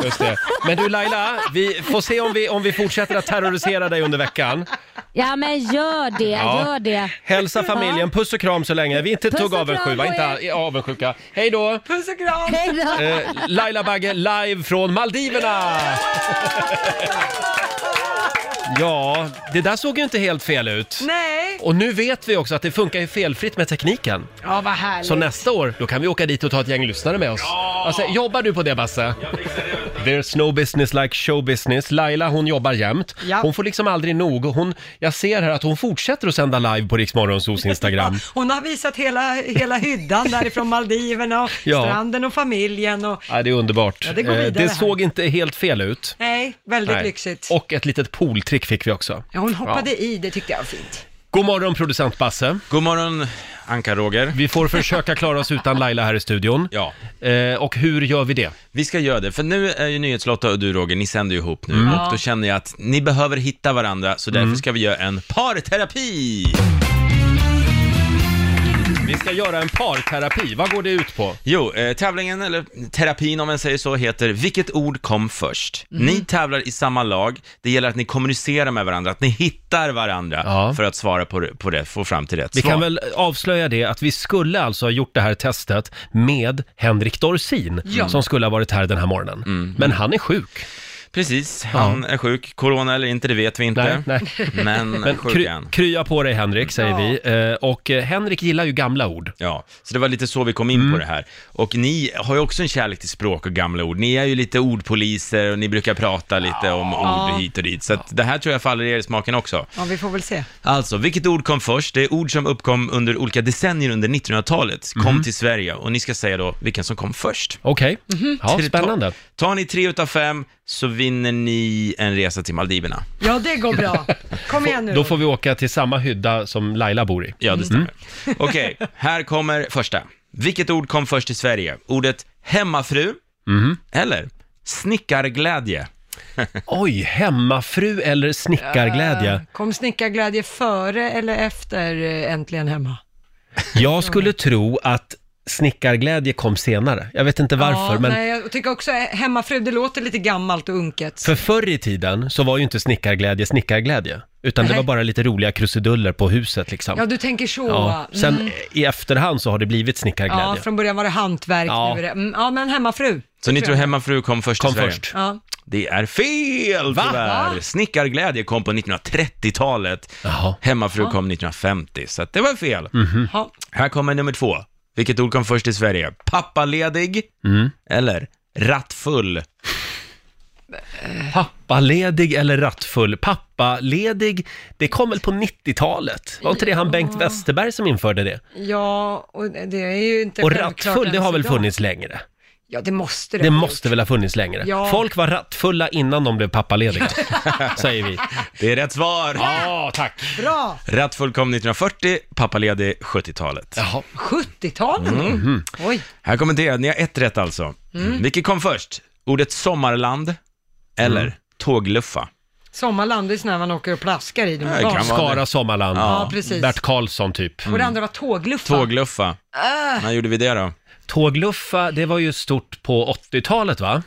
just det. Men du Laila, vi får se om vi, om vi fortsätter att terrorisera dig under veckan. Ja, men gör det, Ja. gör det. Hälsa familjen, puss och kram så länge. Vi är inte ett Puss tugg och avundsjuka, kram var på inte a- avundsjuka. Hej då! Puss och kram! Hej då. Eh, Laila Bagge live från Maldiverna! Ja, det där såg ju inte helt fel ut. Nej! Och nu vet vi också att det funkar ju felfritt med tekniken. Ja, vad härligt. Så nästa år, då kan vi åka dit och ta ett gäng lyssnare med oss. Alltså, jobbar du på det Basse? There's no business like show business. Laila, hon jobbar jämt. Ja. Hon får liksom aldrig nog. Och Hon, jag ser här att hon fortsätter att sända live på Riksmorgonsos Instagram. Hon har visat hela, hela hyddan därifrån Maldiverna och Ja. stranden och familjen och Ja, det är underbart. Ja, det går Eh, vidare det här. såg inte helt fel ut. nej, väldigt Nej. lyxigt. Och ett litet pooltrick fick vi också. Ja, hon hoppade i, det tyckte jag var fint. God morgon producent Basse. God morgon, Anka-Roger. Vi får försöka klara oss utan Laila här i studion. Ja. Eh, och hur gör vi det? Vi ska göra det, för nu är ju Nyhetslotta och du Roger, ni sänder ju ihop nu och då känner jag att ni behöver hitta varandra, så därför ska vi göra en parterapi! Vi ska göra en parterapi. Vad går det ut på? Jo, eh, tävlingen, eller terapin om man säger så, heter Vilket ord kom först? Ni tävlar i samma lag, det gäller att ni kommunicerar med varandra, att ni hittar varandra Ja. för att svara på, på det, få fram till rätt Vi svar. kan väl avslöja det att vi skulle alltså ha gjort det här testet med Henrik Dorsin som skulle ha varit här den här morgonen. Men han är sjuk. Mm. Precis, han är sjuk, corona eller inte, det vet vi Nej, inte. nej. Men, Men sjuk kry, är han. krya på dig Henrik säger vi. Eh, och eh, Henrik gillar ju gamla ord. Mm. Ja, så det var lite så vi kom in på det här. Och ni har ju också en kärlek till språk och gamla ord. Ni är ju lite ordpoliser och ni brukar prata lite om ord hit och dit. Så att det här tror jag faller er i smaken också. Ja, vi får väl se. Alltså, vilket ord kom först? Det är ord som uppkom under olika decennier under 1900-talet, kom till Sverige. Och ni ska säga då vilken som kom först. Mm. Okej, Mhm. ja, Till- spännande. Tar, tar ni tre utav fem så vinner ni en resa till Maldiverna. Ja, det går bra. Kom igen nu. Då får vi åka till samma hydda som Laila bor i. Mm. Ja, det stämmer. Okej, här kommer första. Vilket ord kom först till Sverige? Ordet hemmafru Mhm. eller snickarglädje? Oj, hemmafru eller snickarglädje? Kom snickarglädje före eller efter eh, Äntligen Hemma? Jag skulle tro att snickarglädje kom senare. Jag vet inte varför, ja, men nej, jag tycker också eh, hemmafru, det låter lite gammalt och unket. för förr i tiden så var ju inte snickarglädje snickarglädje, utan det Nej. var bara lite roliga krusiduller på huset liksom. Ja, du tänker så. Ja, sen mm. i efterhand så har det blivit ja, snickarglädje. från början var det hantverk. Ja. Nu är det, mm, ja, men hemmafru. Så ni tror hemmafru kom först Kom i Sverige? först. Ja. Det är fel Va? tyvärr! Snickarglädje kom på 1930-talet. Jaha. Mm. Hemmafru kom 1950, så att det var fel. Ja. Här kommer nummer två. Vilket ord kom först i Sverige? Pappaledig eller rattfull? Pappaledig eller rattfull? Pappaledig, det kom väl på 90-talet? Var inte det han Bengt Westerberg som införde det? ja, och det är ju inte Och självklart rattfull, det ens har väl idag. funnits längre? Ja, det måste det. Det ha måste gjort. väl ha funnits längre? Ja. Folk var rattfulla innan de blev pappalediga, säger vi. Det är rätt svar! Ja, tack. Bra! Rattfull kom 1940, pappaledig 70-talet. 70-talet? Mm. Mm-hmm. Oj. Här kommer det, ni har ett rätt alltså. Vilket kom först? Ordet sommarland eller Mm. tågluffa? Sommarland, det är sådana här man åker och plaskar i. De Ja, det kan barn. vara. Skara Sommarland, Ja, precis. Bert Karlsson typ. Och det andra var Ah. Äh, tågluffa. Mm. Tågluffa. När gjorde vi det då? Tågluffa, det var ju stort på 80-talet va?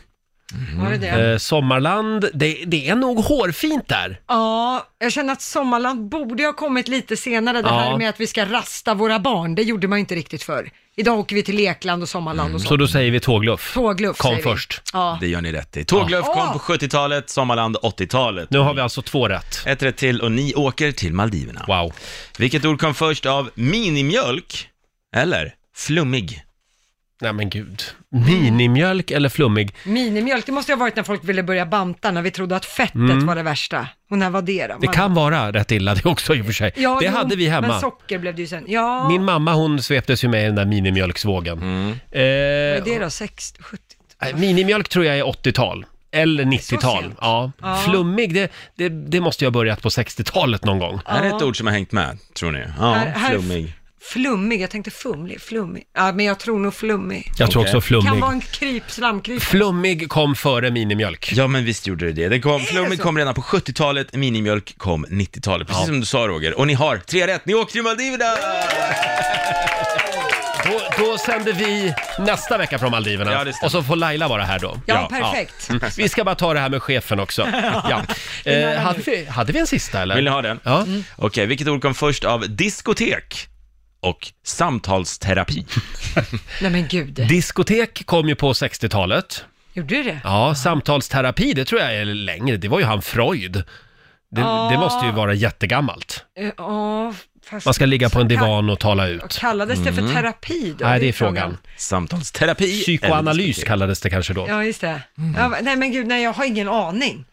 Var det det? Eh, sommarland, det, det är nog hårfint där. Ja, jag känner att Sommarland borde ha kommit lite senare. Det Ja. här med att vi ska rasta våra barn, det gjorde man ju inte riktigt förr. Idag åker vi till Lekland och Sommarland och Mm, Så sånt. då säger vi tågluff. Tågluff Kom säger vi. först. Ja. Det gör ni rätt i. Tågluff Ja. kom på 70-talet, sommarland 80-talet. Nu har vi alltså två rätt. Ett rätt till och ni åker till Maldiverna. Wow. Vilket ord kom först av minimjölk eller flummig? Nej men gud. Minimjölk eller flummig? Minimjölk, det måste ju ha varit när folk ville börja banta, när vi trodde att fettet var det värsta. Och när var det då? Mm. Det Man- kan vara rätt illa det också i och för sig. Ja, det jo, hade vi hemma. Men socker blev det ju sen. Ja, Min mamma hon sveptes ju med i den där minimjölksvågen. Mm. vad Eh, är det då? 60, 70? nej, minimjölk tror jag är 80-tal. Eller 90-tal. sent? Ja. Flummig, det, det, det måste jag ha börjat på 60-talet någon gång. Är det ett ord som har hängt med, tror ni? Ja, Här- här- flummig. Flummig, jag tänkte fumlig, flummig. Ja, men jag tror nog flummig. Jag tror Okej. också Kan flummig. vara en kryp, slamkryp. Flummig kom före minimjölk. Ja, men visst gjorde det det. det kom, flummig så? kom redan på 70-talet, minimjölk kom 90-talet. Precis som du sa, Roger. Och ni har tre rätt. Ni åker till Maldiverna! Då, då sänder vi nästa vecka från Maldiverna. Ja, det stämmer. och så får Laila vara här då. Ja, perfekt. Mm. Vi ska bara ta det här med chefen också. Ja. Eh, hade, vi, hade vi en sista eller? Vill ni ha den? Ja. Okej, vilket ord kom först av diskotek och samtalsterapi? Nej men gud, Diskotek kom ju på 60-talet. gjorde du det? Ja, samtalsterapi, det tror jag är längre. Det var ju han Freud. Det, Ja. det måste ju vara jättegammalt. Eh, Ja, fast... Man ska ligga på en Så divan och tala ut. Mm. Kallades det för terapi då? Nej, det är frågan. Samtalsterapi? eller Psykoanalys diskotek? kallades det kanske då. Ja, just det. Ja, nej men gud, nej jag har ingen aning.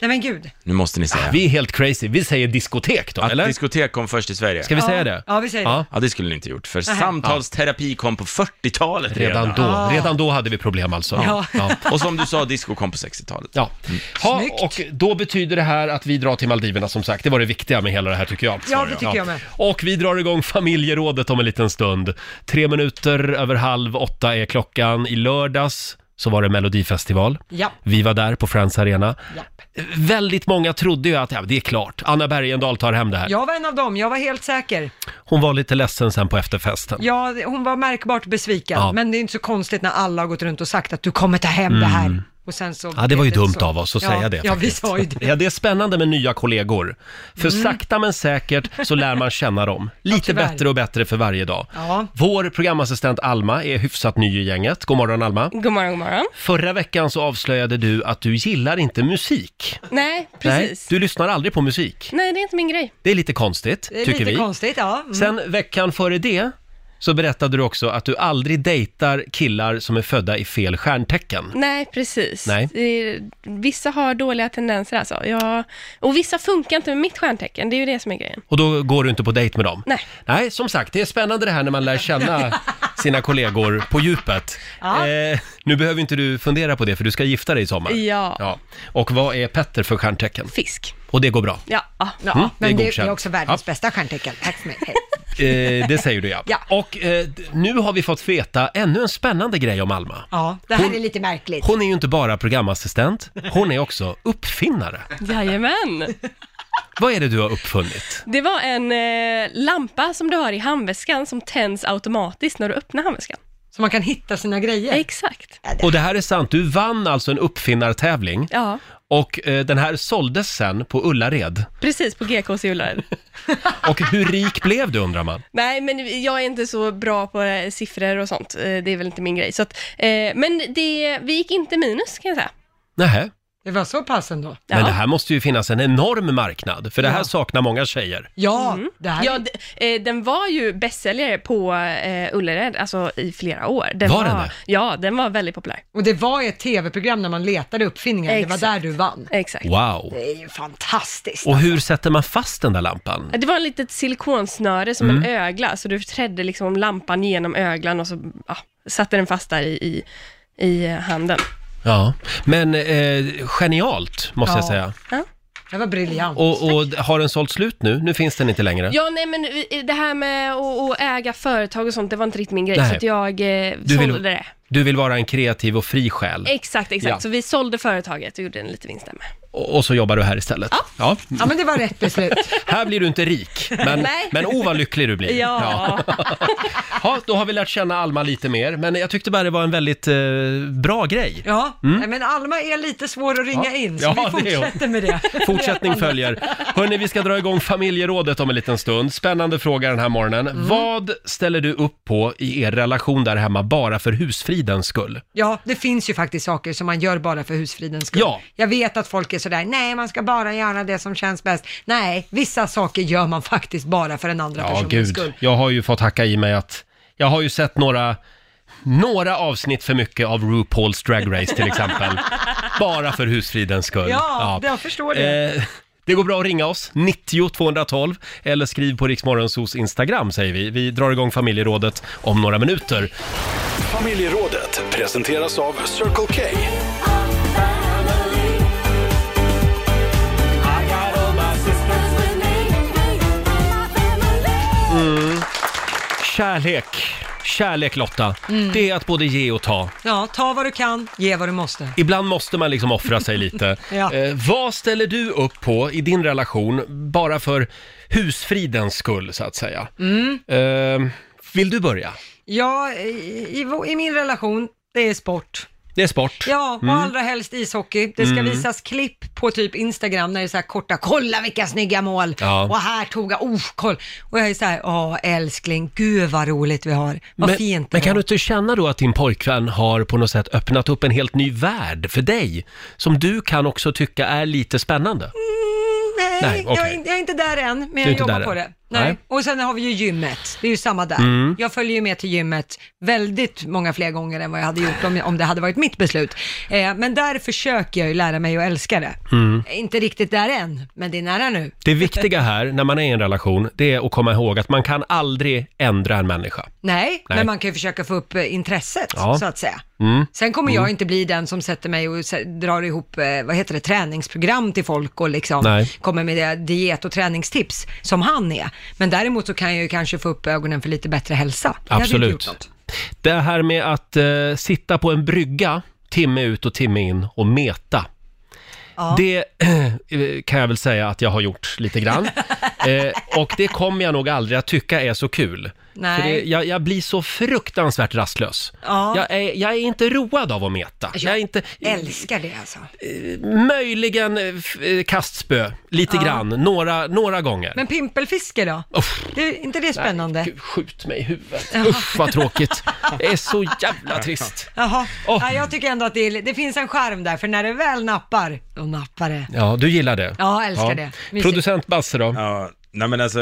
Nej men gud. Nu måste ni säga. Ah, Vi är helt crazy. Vi säger diskotek då, Att eller? diskotek kom först i Sverige. Ska vi säga Ja. det? Ja, vi säger det. Ja, det skulle ni inte gjort, för samtalsterapi kom på 40-talet redan. Redan då, redan då hade vi problem alltså. Ah. Ja. Ja. Och som du sa, disco kom på Mm. 60-talet. Ja, ha, och då betyder det här att vi drar till Maldiverna som sagt. Det var det viktiga med hela det här tycker jag. Ja, det tycker jag med. Och vi drar igång familjerådet om en liten stund. Tre minuter över halv åtta är klockan. I lördags så var det Melodifestival. Ja. Vi var där på Friends Arena. Ja. Väldigt många trodde ju att, ja det är klart, Anna Bergendahl tar hem det här. Jag var en av dem, jag var helt säker. Hon var lite ledsen sen på efterfesten. Ja, det- hon var märkbart besviken, Ja. men det är inte så konstigt när alla har gått runt och sagt att du kommer ta hem det här. Och sen så Mm. Ja, det var ju blev dumt så. av oss att ja, säga det Ja, vi faktiskt. sa ju det. Mm. Ja, det är spännande med nya kollegor. För sakta men säkert så lär man känna dem. Lite tyvärr. bättre och bättre för varje dag. Ja. Vår programassistent Alma är hyfsat ny i gänget. God morgon Alma. God morgon, god morgon. Förra veckan så avslöjade du att du gillar inte musik. Nej, precis. Nej, Nej, du lyssnar aldrig på musik. det är inte min grej. Det är lite konstigt, Det är tycker lite vi. konstigt, ja. Mm. Sen veckan före det så berättade du också att du aldrig dejtar killar som är födda i fel stjärntecken. Nej, precis. Nej. Det är- Vissa har dåliga tendenser alltså. Jag, och vissa funkar inte med mitt stjärntecken, det är ju det som är grejen. Och då går du inte på dejt med dem? Nej. Nej, som sagt, det är spännande det här när man lär känna sina kollegor på djupet. Eh, nu behöver inte du fundera på det, för du ska gifta dig i sommar. Ja. Och vad är Petter för stjärntecken? Fisk. Och det går bra? Ja. ja. Ja, Mm, det är men det är, godkänt. också världens bästa stjärntecken. Tack så mycket. Eh, det säger du ja. Ja. Och eh, d- nu har vi fått veta ännu en spännande grej om Alma. Ja, det här Hon- är lite märkligt. Hon är ju inte bara programassistent, hon är också uppfinnare. Jajamän. Vad är det du har uppfunnit? Det var en eh, lampa som du har i handväskan som tänds automatiskt när du öppnar handväskan. Så man kan hitta sina grejer. Exakt. Och det här är sant, du vann alltså en uppfinnartävling Ja, och eh, den här såldes sen på Ullared. precis på GKs julare. Och hur rik blev du undrar man? Nej, men jag är inte så bra på eh, siffror och sånt. Eh, Det är väl inte min grej. Så att, eh, men det, vi gick inte minus kan jag säga. Nähä. Det var så pass ändå. Ja. Men det här måste ju finnas en enorm marknad, för det här saknar många tjejer. Ja, det här Mm. Ja, d- eh, den var ju bästsäljare på eh, Ullared, alltså i flera år. Den Var den det? Ja, den var väldigt populär. Och det var ett tv-program när man letade uppfinningar, det var Exakt. där du vann. Exakt. Wow! Det är ju fantastiskt. Och hur sätter man fast den där lampan? Det var en litet silikonsnöre som en Mm. ögla, så du trädde liksom lampan genom öglan och så ja, satte den fast där i, i, i handen. Ja, men eh, genialt måste jag Ja. säga. Det var briljant. Och, och har den sålt slut nu? Nu finns den inte längre. Ja, nej men eh, det här med att, att äga företag och sånt, det var inte riktigt min grej, Nej. så att jag eh, Du vill- sålde det. Du vill vara en kreativ och fri själ. Exakt, exakt. Ja. Så vi sålde företaget och gjorde en liten vinst där med. Och och så jobbar du här istället. Ja. Ja, men det var rätt beslut. Här blir du inte rik, men, Nej. men oh vad lycklig du blir. Ja. Ja, då har vi lärt känna Alma lite mer, men jag tyckte bara det var en väldigt eh, bra grej. Ja, nej, men Alma är lite svår att ringa in, så Mm. Ja, det vi är hon. fortsätter med det. Fortsättning följer. Hörni, vi ska dra igång familjerådet om en liten stund. Spännande fråga den här morgonen. Mm. Vad ställer du upp på i er relation där hemma bara för husfridens skull? Ja, det finns ju faktiskt saker som man gör bara för husfridens skull. Ja. Jag vet att folk är sådär, nej man ska bara göra det som känns bäst. Nej, vissa saker gör man faktiskt bara för den andra Ja, personens gud. skull. Jag har ju fått hacka i mig att jag har ju sett några några avsnitt för mycket av RuPaul's Drag Race till exempel. Bara för husfridens skull. Ja, jag förstår det. Eh, det går bra att ringa oss, 90 212, eller skriv på Riksmorgonsos Instagram säger vi. Vi drar igång familjerådet om några minuter. Familjerådet presenteras av Circle K. Kärlek, kärlek Lotta, det är att både ge och ta. Ja, ta vad du kan, ge vad du måste. Ibland måste man liksom offra sig lite. Ja. eh, vad ställer du upp på i din relation bara för husfridens skull så att säga? Eh, vill du börja? Mm. Ja, i, i, vår- i min relation, det är sport. Det är sport. Mm. Ja, och allra helst ishockey. Det ska visas klipp på typ Instagram när det är så här korta, kolla vilka snygga mål! Ja. Och här tog jag, oh, koll! Och jag är så här, åh älskling, gud vad roligt vi har. Vad men, fint det men kan du var." inte känna då att din pojkvän har på något sätt öppnat upp en helt ny värld för dig? Som du kan också tycka är lite spännande. Nej, Nej, jag, är, okej. in- jag är inte där än, men är jag inte jobbar där på än. det. Nej. Nej. Mm. Och sen har vi ju gymmet, det är ju samma där. Jag följer ju med till gymmet väldigt många fler gånger än vad jag hade gjort om, om det hade varit mitt beslut. Eh, men där försöker jag ju lära mig att älska det. Mm. Jag är Inte riktigt där än, men det är nära nu. Det viktiga här när man är i en relation, det är att komma ihåg att man kan aldrig ändra en människa. Nej, Nej. men man kan ju försöka få upp eh, intresset Ja. så att säga. Mm. Sen kommer jag inte bli den som sätter mig och sä- drar ihop, eh, vad heter det, träningsprogram till folk och liksom Nej. kommer med det, diet och träningstips som han är. Men däremot så kan jag ju kanske få upp ögonen för lite bättre hälsa. Det hade ju inte Absolut. gjort något. Det här med att eh, sitta på en brygga timme ut och timme in och meta. Ja. Det eh, kan jag väl säga att jag har gjort lite grann. eh, och det kommer jag nog aldrig att tycka är så kul. Nej. För det, jag, jag blir så fruktansvärt rastlös. Ja. Jag, är, jag är inte road av att meta. Jag är inte, Älskar det alltså. möjligen eh, f- eh, kastspö, lite grann, några, några gånger. Men pimpelfiske då? Uff. Det är inte det spännande? Gud, skjut mig i huvudet. Usch vad tråkigt. Det är så jävla trist. Jaha, Åh. ja, jag tycker ändå att det, är, det finns en skärm där, för när det väl nappar, då nappar det. Ja, du gillar det. Ja, jag älskar det. Mysigt. Producent Basse då? Ja, nej men alltså,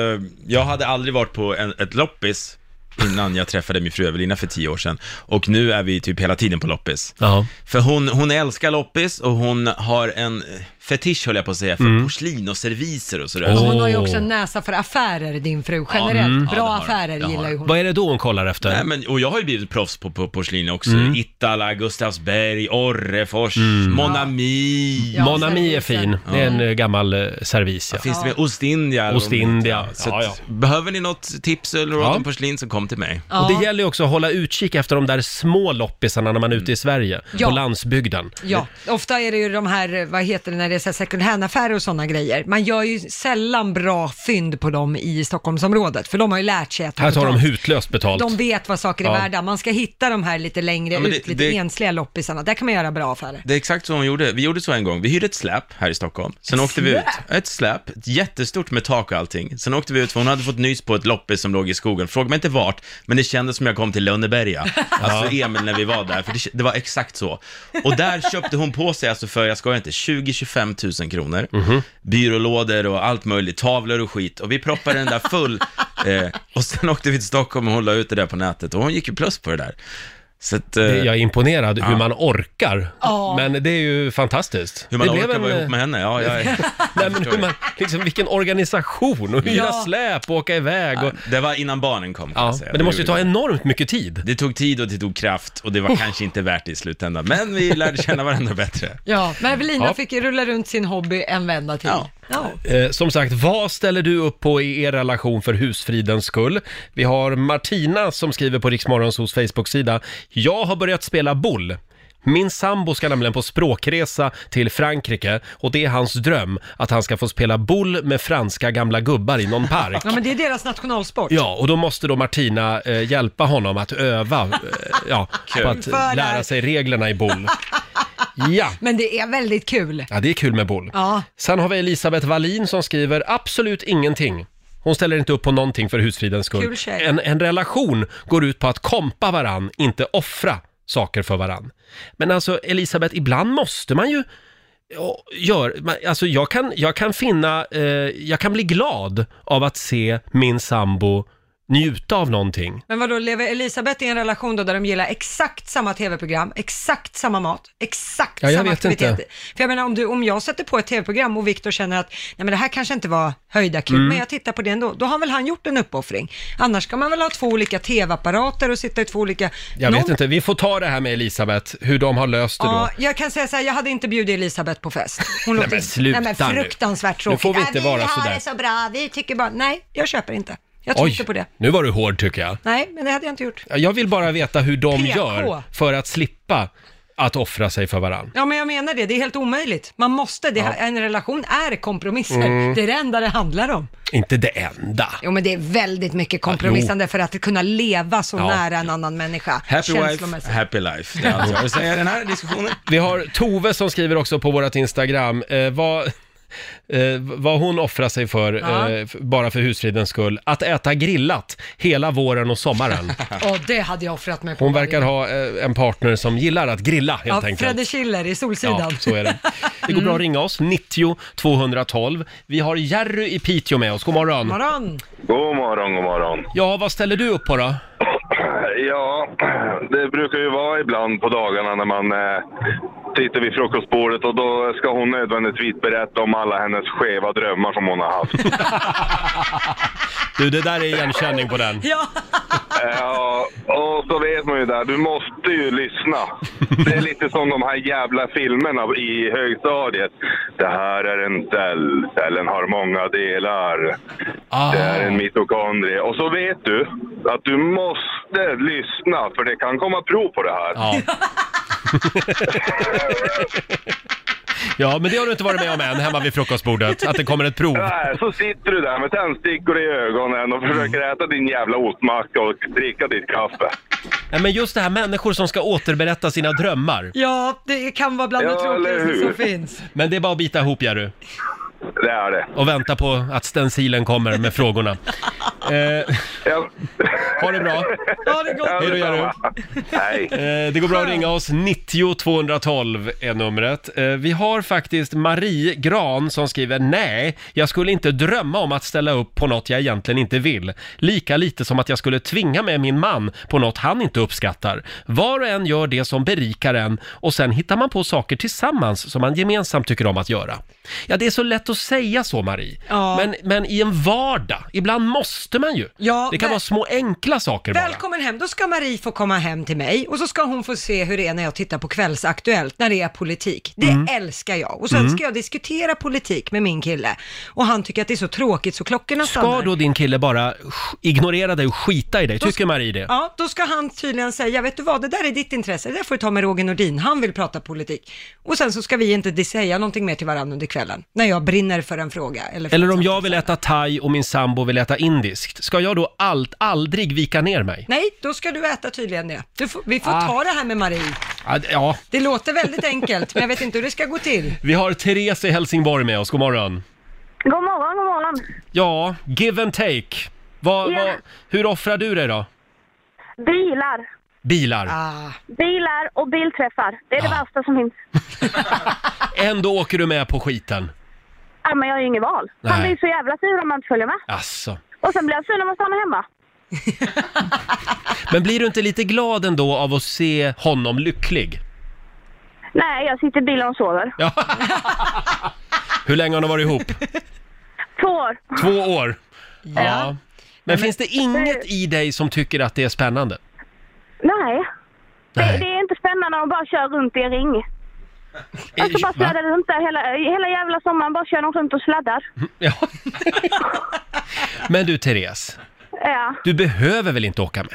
jag hade aldrig varit på en, ett loppis innan jag träffade min fru Evelina för tio år sedan. Och nu är vi typ hela tiden på loppis. Ja. För hon, hon älskar loppis och hon har en eh, fetisch, höll jag på att säga, för porslin och serviser och sådär. Och hon har ju Mm. Åh. också en näsa för affärer, din fru. Generellt, Ja, det bra har hon. affärer Det har gillar hon. ju hon. Mm. Vad är det då hon kollar efter? Mm. Nej, men, och jag har ju blivit proffs på, på porslin också. Ittala, Gustavsberg, Orrefors, Monami. Ja, Monami Mm. är servisen. fin. Det är en eh, gammal eh, servis. Ja. Finns det med Ostindia? eller Ostindia, något? Så ja, ja. att, Behöver ni något tips eller råd Ja. om porslin så kom till mig. Och det gäller ju också att hålla utkik efter de där små loppisarna när man är ute i Sverige, Ja. på landsbygden. Ja, ofta är det ju de här, vad heter det när det är så här second hand-affärer och sådana grejer. Man gör ju sällan bra fynd på dem i Stockholmsområdet, för de har ju lärt sig att Här tar de hutlöst betalt. de vet vad saker är Ja. värda. Man ska hitta de här lite längre Ja, men det- ut, lite det- ensliga loppisarna. Där kan man göra bra affärer. Det är exakt så hon gjorde. Vi gjorde så en gång. Vi hyrde ett släp här i Stockholm. Sen åkte vi ut. Ett släp, ett jättestort med tak och allting. Sen åkte vi ut för hon hade fått nys på ett loppis som låg i skogen. Fråga mig inte vart, men det kändes som jag kom till Lönneberga. Alltså Emil när vi var där, för det, k- det var exakt så. Och där köpte hon på sig, alltså för jag skojar inte, 20-25 000 kronor. Mhm. Byrålådor och allt möjligt, tavlor och skit. Och vi proppade den där full. Eh, och sen åkte vi till Stockholm och hon la ut det där på nätet. Och hon gick ju plus på det där. Så att, eh, Jag är imponerad hur man orkar. Men det är ju fantastiskt. hur man det blev eh, orkar vara ihop med henne, ja, jag är... Nej, men hur man, liksom, vilken organisation och hyra släp och åka iväg. Och, Det var innan barnen kom kan eh, ja, jag säga. men det måste ju ta gjorde enormt mycket tid. Oh. det. Det tog tid och det tog kraft och det var kanske inte värt det i slutändan, men vi lärde känna varandra bättre. Ja, men Evelina Ja. fick ju rulla runt sin hobby en vända till. Ja. Ja. Eh, som sagt, vad ställer du upp på i er relation för husfridens skull? Vi har Martina som skriver på Riksmorgonsos Facebook-sida. Jag har börjat spela boll. Min sambo ska nämligen på språkresa till Frankrike och det är hans dröm att han ska få spela boll med franska gamla gubbar i någon park. ja, men det är deras nationalsport. Ja, och då måste då Martina eh, hjälpa honom att öva eh, ja, på att lära sig reglerna i boll. Ja. Men det är väldigt kul. Ja, det är kul med boll. Ja. Sen har vi Elisabeth Wallin som skriver absolut ingenting. Hon ställer inte upp på någonting för husfridens skull. Kul tjej. En, en relation går ut på att kompa varann, inte offra saker för varann. Men alltså Elisabeth, ibland måste man ju ja, gör, man- alltså jag kan, jag kan finna, eh, jag kan bli glad av att se min sambo njuta av någonting. Men vadå, lever Elisabeth i en relation då där de gillar exakt samma tv-program, exakt samma mat, exakt Ja, jag samma vet aktiviteter? inte. För jag menar, om, du, om jag sätter på ett tv-program och Viktor känner att nej men det här kanske inte var höjda kul, Mm. men jag tittar på det ändå, då har väl han gjort en uppoffring. Annars ska man väl ha två olika tv-apparater och sitta i två olika... Jag vet Någon- inte, vi får ta det här med Elisabeth, hur de har löst det då. Ja, jag kan säga så här, jag hade inte bjudit Elisabeth på fest. Hon Nej, låter- men sluta nej, men nu. fruktansvärt Nu tråkigt. får vi inte äh, vara vi sådär. har det så bra, vi tycker bara... Nej, jag köper inte. Jag tror inte på det. nu var du hård tycker jag. Nej, men det hade jag inte gjort. Jag vill bara veta hur de PK. gör för att slippa att offra sig för varann. Ja, men jag menar det. Det är helt omöjligt. Man måste. Det, En relation är kompromisser. Mm. Det är det enda det handlar om. Inte det enda. Jo, men det är väldigt mycket kompromissande för att kunna leva så Ja. nära en annan människa. Happy känslomässigt. wife, happy life. Det är allt Alltså, jag har att säga i den här diskussionen. Vi har Tove som skriver också på vårt Instagram. Eh, vad... Eh, vad hon offrar sig för, Ja. eh, f- bara för husfridens skull, att äta grillat hela våren och sommaren. Och det hade jag offrat mig på. Hon varje verkar dag. ha eh, en partner som gillar att grilla helt Ja, enkelt. Fredde Schiller i Ja, Solsidan. så är det. Det går bra att ringa oss, 90 212. Vi har Jerry i Piteå med oss, god morgon. Morgon! God morgon, god morgon. Ja, vad ställer du upp på då? Ja, det brukar ju vara ibland på dagarna när man eh, sitter vid frukostbordet och då ska hon nödvändigtvis berätta om alla hennes skeva drömmar som hon har haft. Du, det där är igenkänning på den. Ja, Ja, och så vet man ju där, du måste ju lyssna. Det är lite som de här jävla filmerna i högstadiet. Det här är en cell, cellen har många delar. Ah. Det är en mitokondrie. Och så vet du att du måste lyssna för det kan komma prov på det här. Ja. ja, men det har du inte varit med om än hemma vid frukostbordet, att det kommer ett prov. Nej, Äh, så sitter du där med tändstickor i ögonen och försöker äta din jävla ostmacka och dricka ditt kaffe. Nej, men just det här människor som ska återberätta sina drömmar. ja det kan vara bland det Ja, eller tråkigaste hur? som finns. Men det är bara att bita ihop Jerry Det är det. och vänta på att stencilen kommer med frågorna. Eh, Ja. ha det bra. Ha det gott! Hej då, Jerry. detsamma. Hej. Eh, det går bra att ringa oss, 90 212 är numret. Eh, vi har faktiskt Marie Gran som skriver Nej, jag skulle inte drömma om att ställa upp på något jag egentligen inte vill. Lika lite som att jag skulle tvinga med min man på något han inte uppskattar. Var och en gör det som berikar en och sen hittar man på saker tillsammans som man gemensamt tycker om att göra. Ja, det är så lätt att säga så Marie. Ja. Men, men i en vardag, ibland måste måste man ju. Ja, det kan väl- vara små enkla saker bara. Välkommen hem, då ska Marie få komma hem till mig och så ska hon få se hur det är när jag tittar på Kvällsaktuellt, när det är politik. Det Mm. älskar jag. Och sen Mm. ska jag diskutera politik med min kille och han tycker att det är så tråkigt så klockorna Ska stannar. då din kille bara sk- ignorera dig och skita i dig? Då Tycker ska- Marie det? Ja, då ska han tydligen säga, vet du vad, det där är ditt intresse, det där får du ta med Roger Nordin, han vill prata politik. Och sen så ska vi inte säga någonting mer till varandra under kvällen, när jag brinner för en fråga. Eller, för Eller om jag vill äta thai och min sambo vill äta indiskt, ska jag då allt, aldrig vika ner mig? Nej, då ska du äta tydligen det. Du får, vi får Ah. ta det här med Marie. Ja, d- Ja, Det låter väldigt enkelt, men jag vet inte hur det ska gå till. vi har Therese i Helsingborg med oss, god morgon. God morgon, god morgon. Ja, give and take. Vad, Ja. vad, hur offrar du dig då? Bilar. Bilar. Ah. Bilar och bilträffar. Det är det värsta som finns. Ändå åker du med på skiten. Ja, men jag har ju inget val. Han Nej. blir så jävla sur om man inte följer med. Alltså. Och sen blir han sur när man stannar hemma. Men blir du inte lite glad ändå av att se honom lycklig? Nej, jag sitter i bilen och sover. Ja. Hur länge har ni varit ihop? Två år. Två år? Ja. Men, finns det inget i dig som tycker att det är spännande? Nej. Det, Nej. det är inte spännande att bara köra runt i en ring. Alltså Va? bara sladdar runt där hela, hela jävla sommaren. Bara kör de runt och sladdar. Mm. Men du Therese, Ja. du behöver väl inte åka med?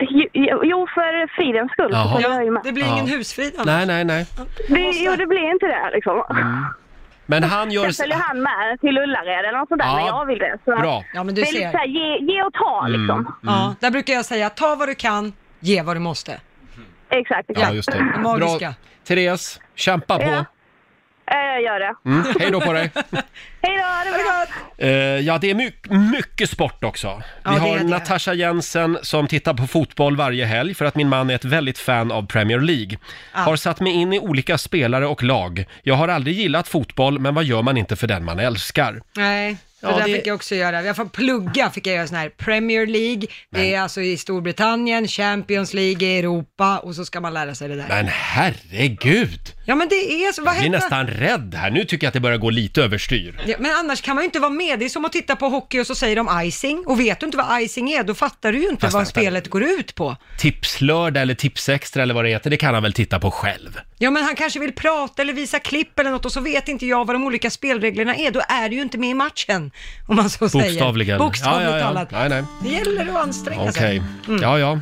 Jo- Jo, för fridens skull. Jaha. Så kommer jag ju med. Det blir ingen Ja. husfrid Nej, nej, nej. Det, jo, det blir inte det liksom. Men han gör... Sen Mm. följer han med till Ullared eller något sånt där Ja. när jag vill det. Så Bra. Ja, men du det är lite ser. så här, ge, ge och ta Mm, liksom. Ja, där brukar jag säga, ta vad du kan, ge vad du måste. Exakt. Ja, just det. Magiska. Bra. Therese, kämpa på. Ja. Eh, Jag gör det. Mm, hej då på dig. Hej då, det var gott! Eh, ja, det är my- mycket sport också. Ja, Vi det har är det. Natasha Jensen som tittar på fotboll varje helg för att min man är ett väldigt fan av Premier League. Ah. Har satt mig in i olika spelare och lag. Jag har aldrig gillat fotboll, men vad gör man inte för den man älskar? Nej, det Ja, där det- fick jag också göra. Jag får plugga, fick jag göra sån här Premier League, det är alltså i Storbritannien, Champions League i Europa och så ska man lära sig det där. Men herregud! Ja men det är så, vad Jag blir hände? nästan rädd här. Nu tycker jag att det börjar gå lite överstyr. Ja, men annars kan man ju inte vara med. Det är som att titta på hockey och så säger de icing och vet du inte vad icing är, då fattar du ju inte Fast vad vänta. spelet går ut på. Tipslördag eller Tipsextra eller vad det heter, det kan han väl titta på själv? Ja men han kanske vill prata eller visa klipp eller något och så vet inte jag vad de olika spelreglerna är, då är du ju inte med i matchen. Om man så Bokstavligen. säger. Ja, Bokstavligt ja, ja. talat. Nej, nej. Det gäller att anstränga Okej. sig. Mm. Ja, ja.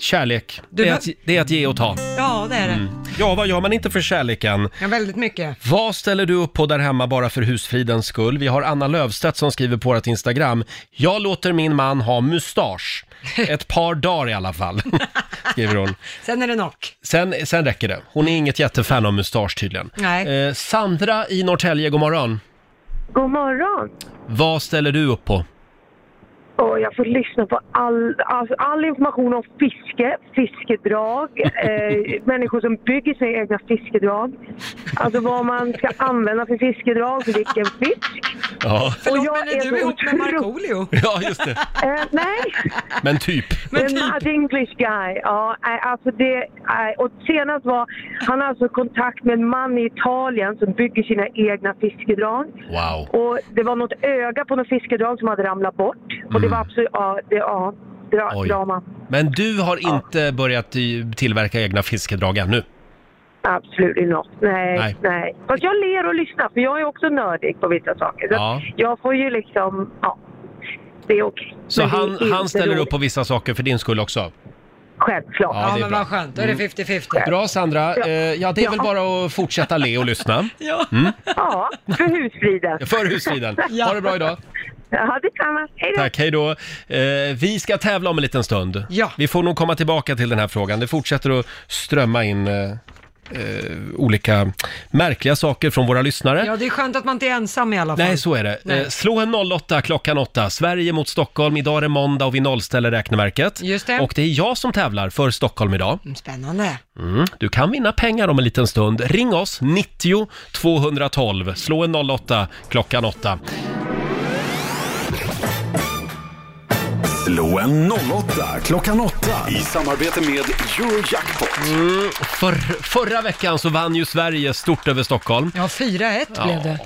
Kärlek. Du det, är be- att, det är att ge och ta. Ja, det är det. Mm. Ja, vad gör man inte för kärleken? Ja, väldigt mycket. Vad ställer du upp på där hemma bara för husfridens skull? Vi har Anna Lövstedt som skriver på vårt Instagram. Jag låter min man ha mustasch. Ett par dagar i alla fall, skriver hon. Sen är det knock. Sen, sen räcker det. Hon är inget jättefan av mustasch tydligen. Nej. Eh, Sandra i Norrtälje, god morgon. God morgon! Vad ställer du upp på? Och jag får lyssna på all, alltså all information om fiske, fiskedrag, eh, människor som bygger sig egna fiskedrag. Alltså vad man ska använda för fiskedrag, vilken fisk. Ja, och jag men är du så ihop med otroligt- Markoolio? ja just det. Eh, nej, Men typ. men not English guy. Ja, nej, alltså det, nej. och senast var han har alltså kontakt med en man i Italien som bygger sina egna fiskedrag. Wow. Och det var något öga på något fiskedrag som hade ramlat bort. Och det var absolut, ja, det, ja, dra, Mm. Oj. drama. Men du har inte börjat i- tillverka egna fiskedrag ännu? Absolut inte. Nej, Nej. nej. Fast jag ler och lyssnar för jag är också nördig på vissa saker. Så Ja. att jag får ju liksom, ja. Det är okej. Så Men det är han, inte han ställer roligt. upp på vissa saker för din skull också? Självklart. Ja, det är men bra. vad skönt, då är det Mm. 50-50. Bra Sandra, eh, ja det är väl Ja. bara att fortsätta le och lyssna. Ja. Mm. Ja, för husfriden. För husfriden. Ja. Ha det bra idag. Ja, detsamma. Hej då. Tack, hej då. Eh, vi ska tävla om en liten stund. Ja. Vi får nog komma tillbaka till den här frågan. Det fortsätter att strömma in eh, eh, olika märkliga saker från våra lyssnare. Ja, det är skönt att man inte är ensam i alla fall. Nej, så är det. Nej. Eh, slå en 08 klockan 8. Sverige mot Stockholm. Idag är det måndag och vi nollställer räkneverket. Just det. Och det är jag som tävlar för Stockholm idag. Spännande. Mm. Du kan vinna pengar om en liten stund. Ring oss, 90 212. Slå en 08 klockan 8. Slå en 08 klockan 8 i samarbete med Eurojackpot. Mm. För, förra veckan så vann ju Sverige stort över Stockholm. Ja, 4-1 blev det. Mm.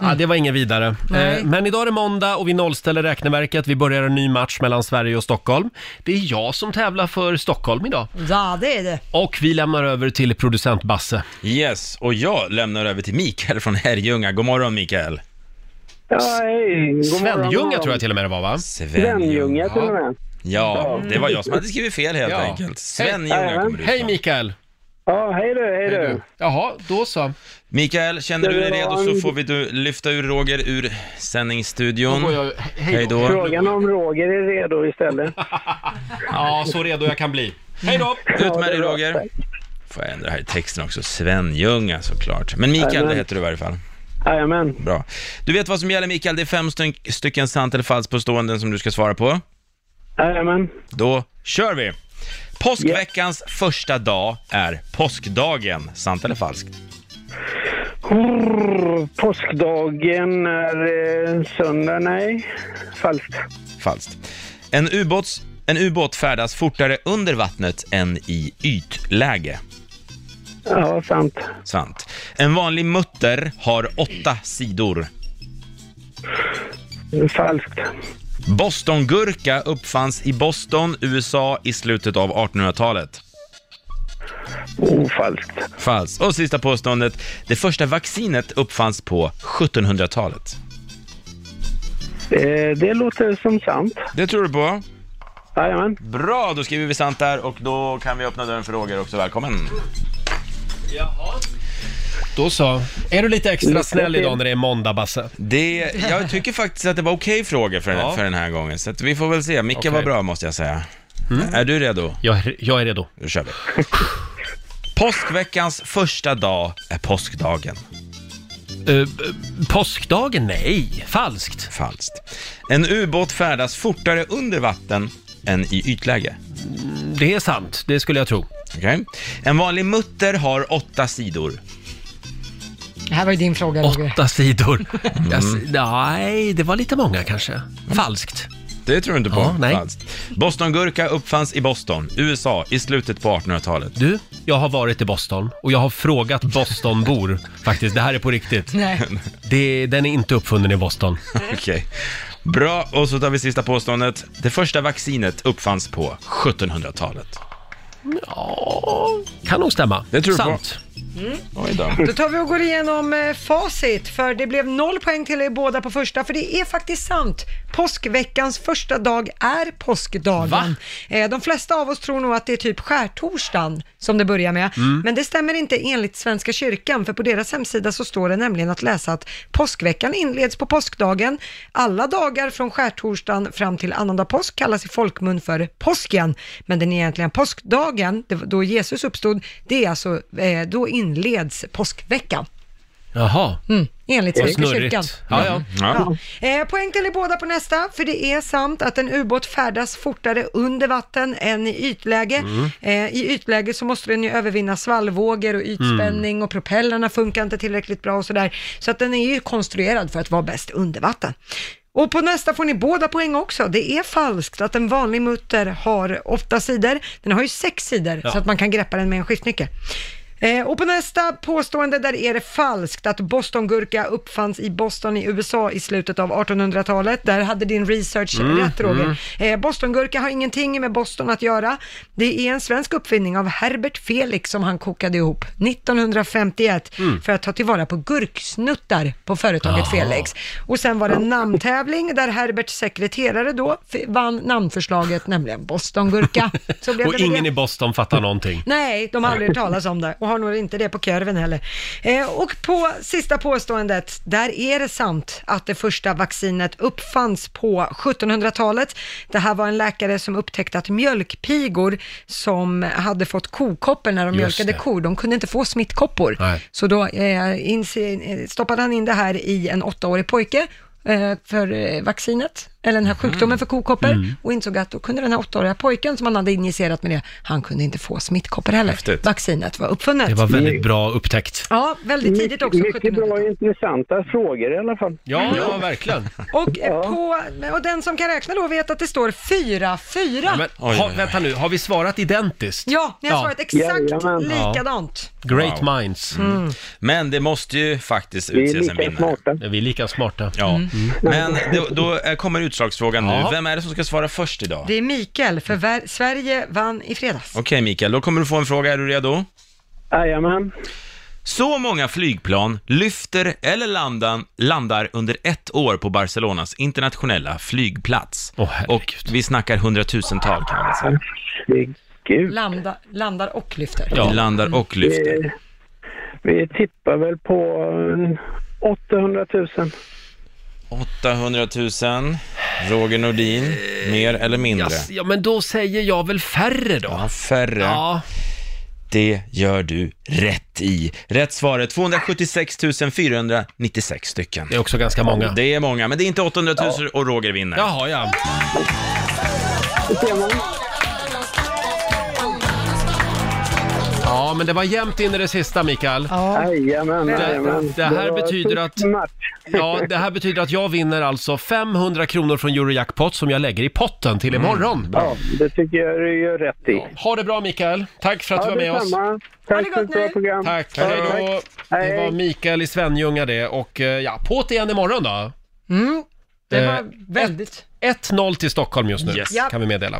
Ja, det var inget vidare. Nej. Eh, Men idag är det måndag och vi nollställer räkneverket. Vi börjar en ny match mellan Sverige och Stockholm. Det är jag som tävlar för Stockholm idag. Ja, det är det. Och vi lämnar över till producent Basse. Yes, och jag lämnar över till Mikael från Herrljunga. God morgon Mikael. Ja, hej. God morgon. Svenljunga tror jag till och med det var va? Svenljunga till och med. Ja, det var jag som hade skrivit fel helt Ja. enkelt. Hej. Svenljunga kommer ut. Hej Mikael! Ja, hej du, hej du. Jaha, då så. Mikael, känner du dig Det redo var så en- får vi du lyfta ur Roger ur sändningsstudion. Då går jag- Hej då. Frågan om Roger är redo istället. Ja, så redo jag kan bli. Hej då! Ut med dig Roger. Får jag ändra här i texten också. Svenljunga såklart. Men Mikael, det Jajamän. heter du i varje fall. Jajamän. Bra. Du vet vad som gäller Mikael, det är fem styck- stycken sant eller falskt påståenden som du ska svara på. Jajamän. Då kör vi! Påskveckans första dag är påskdagen. Sant eller falskt? Brrr, Påskdagen är eh, söndag, nej. Falskt. Falskt. En, ubåts, en ubåt färdas fortare under vattnet än i ytläge. Ja, sant. Sant. En vanlig mutter har åtta sidor. Falskt. Bostongurka uppfanns i Boston, USA i slutet av 1800-talet. Ofalskt. Falskt. Och sista påståendet. Det första vaccinet uppfanns på 1700-talet. Eh, Det låter som sant. Det tror du på? Jajamän. Bra, då skriver vi sant där och då kan vi öppna dörren för Roger också. Välkommen! Då så. Är du lite extra snäll idag när det är måndag Basse? Det, jag tycker faktiskt att det var okej frågor för, Ja. för den här gången, så att vi får väl se. Micke Okej. Mm. var bra måste jag säga. Är du redo? Jag är, jag är redo. Då kör vi. Påskveckans första dag är påskdagen. Eh, påskdagen? Nej, falskt. Falskt. En ubåt färdas fortare under vatten än i ytläge. Mm, Det är sant, det skulle jag tro. Okej. En vanlig mutter har åtta sidor. Det här var ju din fråga Roger. Åtta sidor. Mm. Jag s- nej, det var lite många kanske. Falskt. Det tror du inte på? Ja, nej. Falskt. Bostongurka uppfanns i Boston, USA, i slutet på 1800-talet. Du, jag har varit i Boston och jag har frågat Bostonbor faktiskt. Det här är på riktigt. Nej. Det, den är inte uppfunnen i Boston. Okej. Bra, och så tar vi sista påståendet. Det första vaccinet uppfanns på 1700-talet. Ja, kan nog stämma. Det tror du Sant. Mm. Oj då. Då tar vi och går igenom eh, facit, för det blev noll poäng till er båda på första, för det är faktiskt sant. Påskveckans första dag är påskdagen. Va? Eh, De flesta av oss tror nog att det är typ skärtorsdagen som det börjar med, men det stämmer inte enligt Svenska kyrkan, för på deras hemsida så står det nämligen att läsa att påskveckan inleds på påskdagen. Alla dagar från skärtorsdagen fram till annandag påsk kallas i folkmun för påsken, men den egentligen påskdagen, det var då Jesus uppstod, det är alltså, eh, då inleds påskveckan. Jaha. Mm, enligt Vad Svenska snurrigt. kyrkan. Ja, Mm. ja. Ja. Eh, poäng till er båda på nästa, för det är sant att en ubåt färdas fortare under vatten än i ytläge. Mm. Eh, I ytläge så måste den ju övervinna svallvågor och ytspänning och propellerna funkar inte tillräckligt bra och sådär. Så att den är ju konstruerad för att vara bäst under vatten. Och på nästa får ni båda poäng också. Det är falskt att en vanlig mutter har åtta sidor. Den har ju sex sidor Ja. så att man kan greppa den med en skiftnyckel. Eh, och på nästa påstående där är det falskt att bostongurka uppfanns i Boston i USA i slutet av 1800-talet. Där hade din research Mm, rätt Roger. mm. Eh, Bostongurka har ingenting med Boston att göra. Det är en svensk uppfinning av Herbert Felix som han kokade ihop 1951 Mm. för att ta tillvara på gurksnuttar på företaget Jaha. Felix. Och sen var det en namntävling där Herberts sekreterare då f- vann namnförslaget, nämligen Bostongurka. Så blev Och det med ingen det. i Boston fattar någonting. Nej, de har aldrig hört talas om det och har nog inte det på kurven heller. Eh, och på sista påståendet, där är det sant att det första vaccinet uppfanns på 1700-talet. Det här var en läkare som upptäckte att mjölkpigor som hade fått kokoppor när de Just mjölkade det. kor, de kunde inte få smittkoppor. Nej. Så då eh, inse- eh, stoppade han in det här i en åttaårig pojke eh, för eh, vaccinet. eller den här sjukdomen för kokoppor Mhm. Mm. och insåg att då kunde den här åttaåriga pojken som han hade injicerat med det, han kunde inte få smittkoppor heller. Häftigt. Vaccinet var uppfunnet. Det var väldigt bra upptäckt. Ja, väldigt tidigt också. Mycket, mycket bra och intressanta frågor i alla fall. Ja, ja, verkligen. Och, eh, på, och den som kan räkna då vet att det står 4-4. Ja, Men, ha, vänta nu, har vi svarat identiskt? ni har svarat exakt likadant. Great minds. Mm. Men det måste ju faktiskt Vi är utses en lika vinnare. Vi är lika smarta. Mm. Ja. Men då, då eh, kommer utslagsfrågan nu. Ja. Vem är det som ska svara först idag? Det är Mikael, för ver- Sverige vann i fredags. Okej Mikael, då kommer du få en fråga. Är du redo? Jajamän. Så många flygplan lyfter eller landan, landar under ett år på Barcelonas internationella flygplats. och vi snackar hundratusental kan man säga. Landa, landar och lyfter. Vi landar och lyfter. Vi, vi tippar väl på eh, 800 000. 800 000. Roger Nordin, mer eller mindre? Jas- Ja, men då säger jag väl färre då. Ja, färre. Ja. Det gör du rätt i. Rätt svar är 276 496 stycken. Det är också ganska många. Det är många, men det är inte 800 000 och Roger vinner. Jaha, ja. Ja, men det var jämnt in i det sista, Mikael. Jajamän, Det, jajamän. det här Det var betyder tuff att... match. Ja, det här betyder att jag vinner alltså 500 kronor från Eurojackpot som jag lägger i potten till Mm. imorgon. Mm. Ja, det tycker jag du gör rätt i. Ha det bra Mikael. Tack för att Ja, du var med oss. detsamma. Tack för ett bra program. Tack, Ja, hej då. tack. Det var Hej. Mikael i Svenljunga det och eh, ja, på't igen imorgon då. Mm, det var Eh, väldigt... 1-0 till Stockholm just nu, Yes. Ja. kan vi meddela.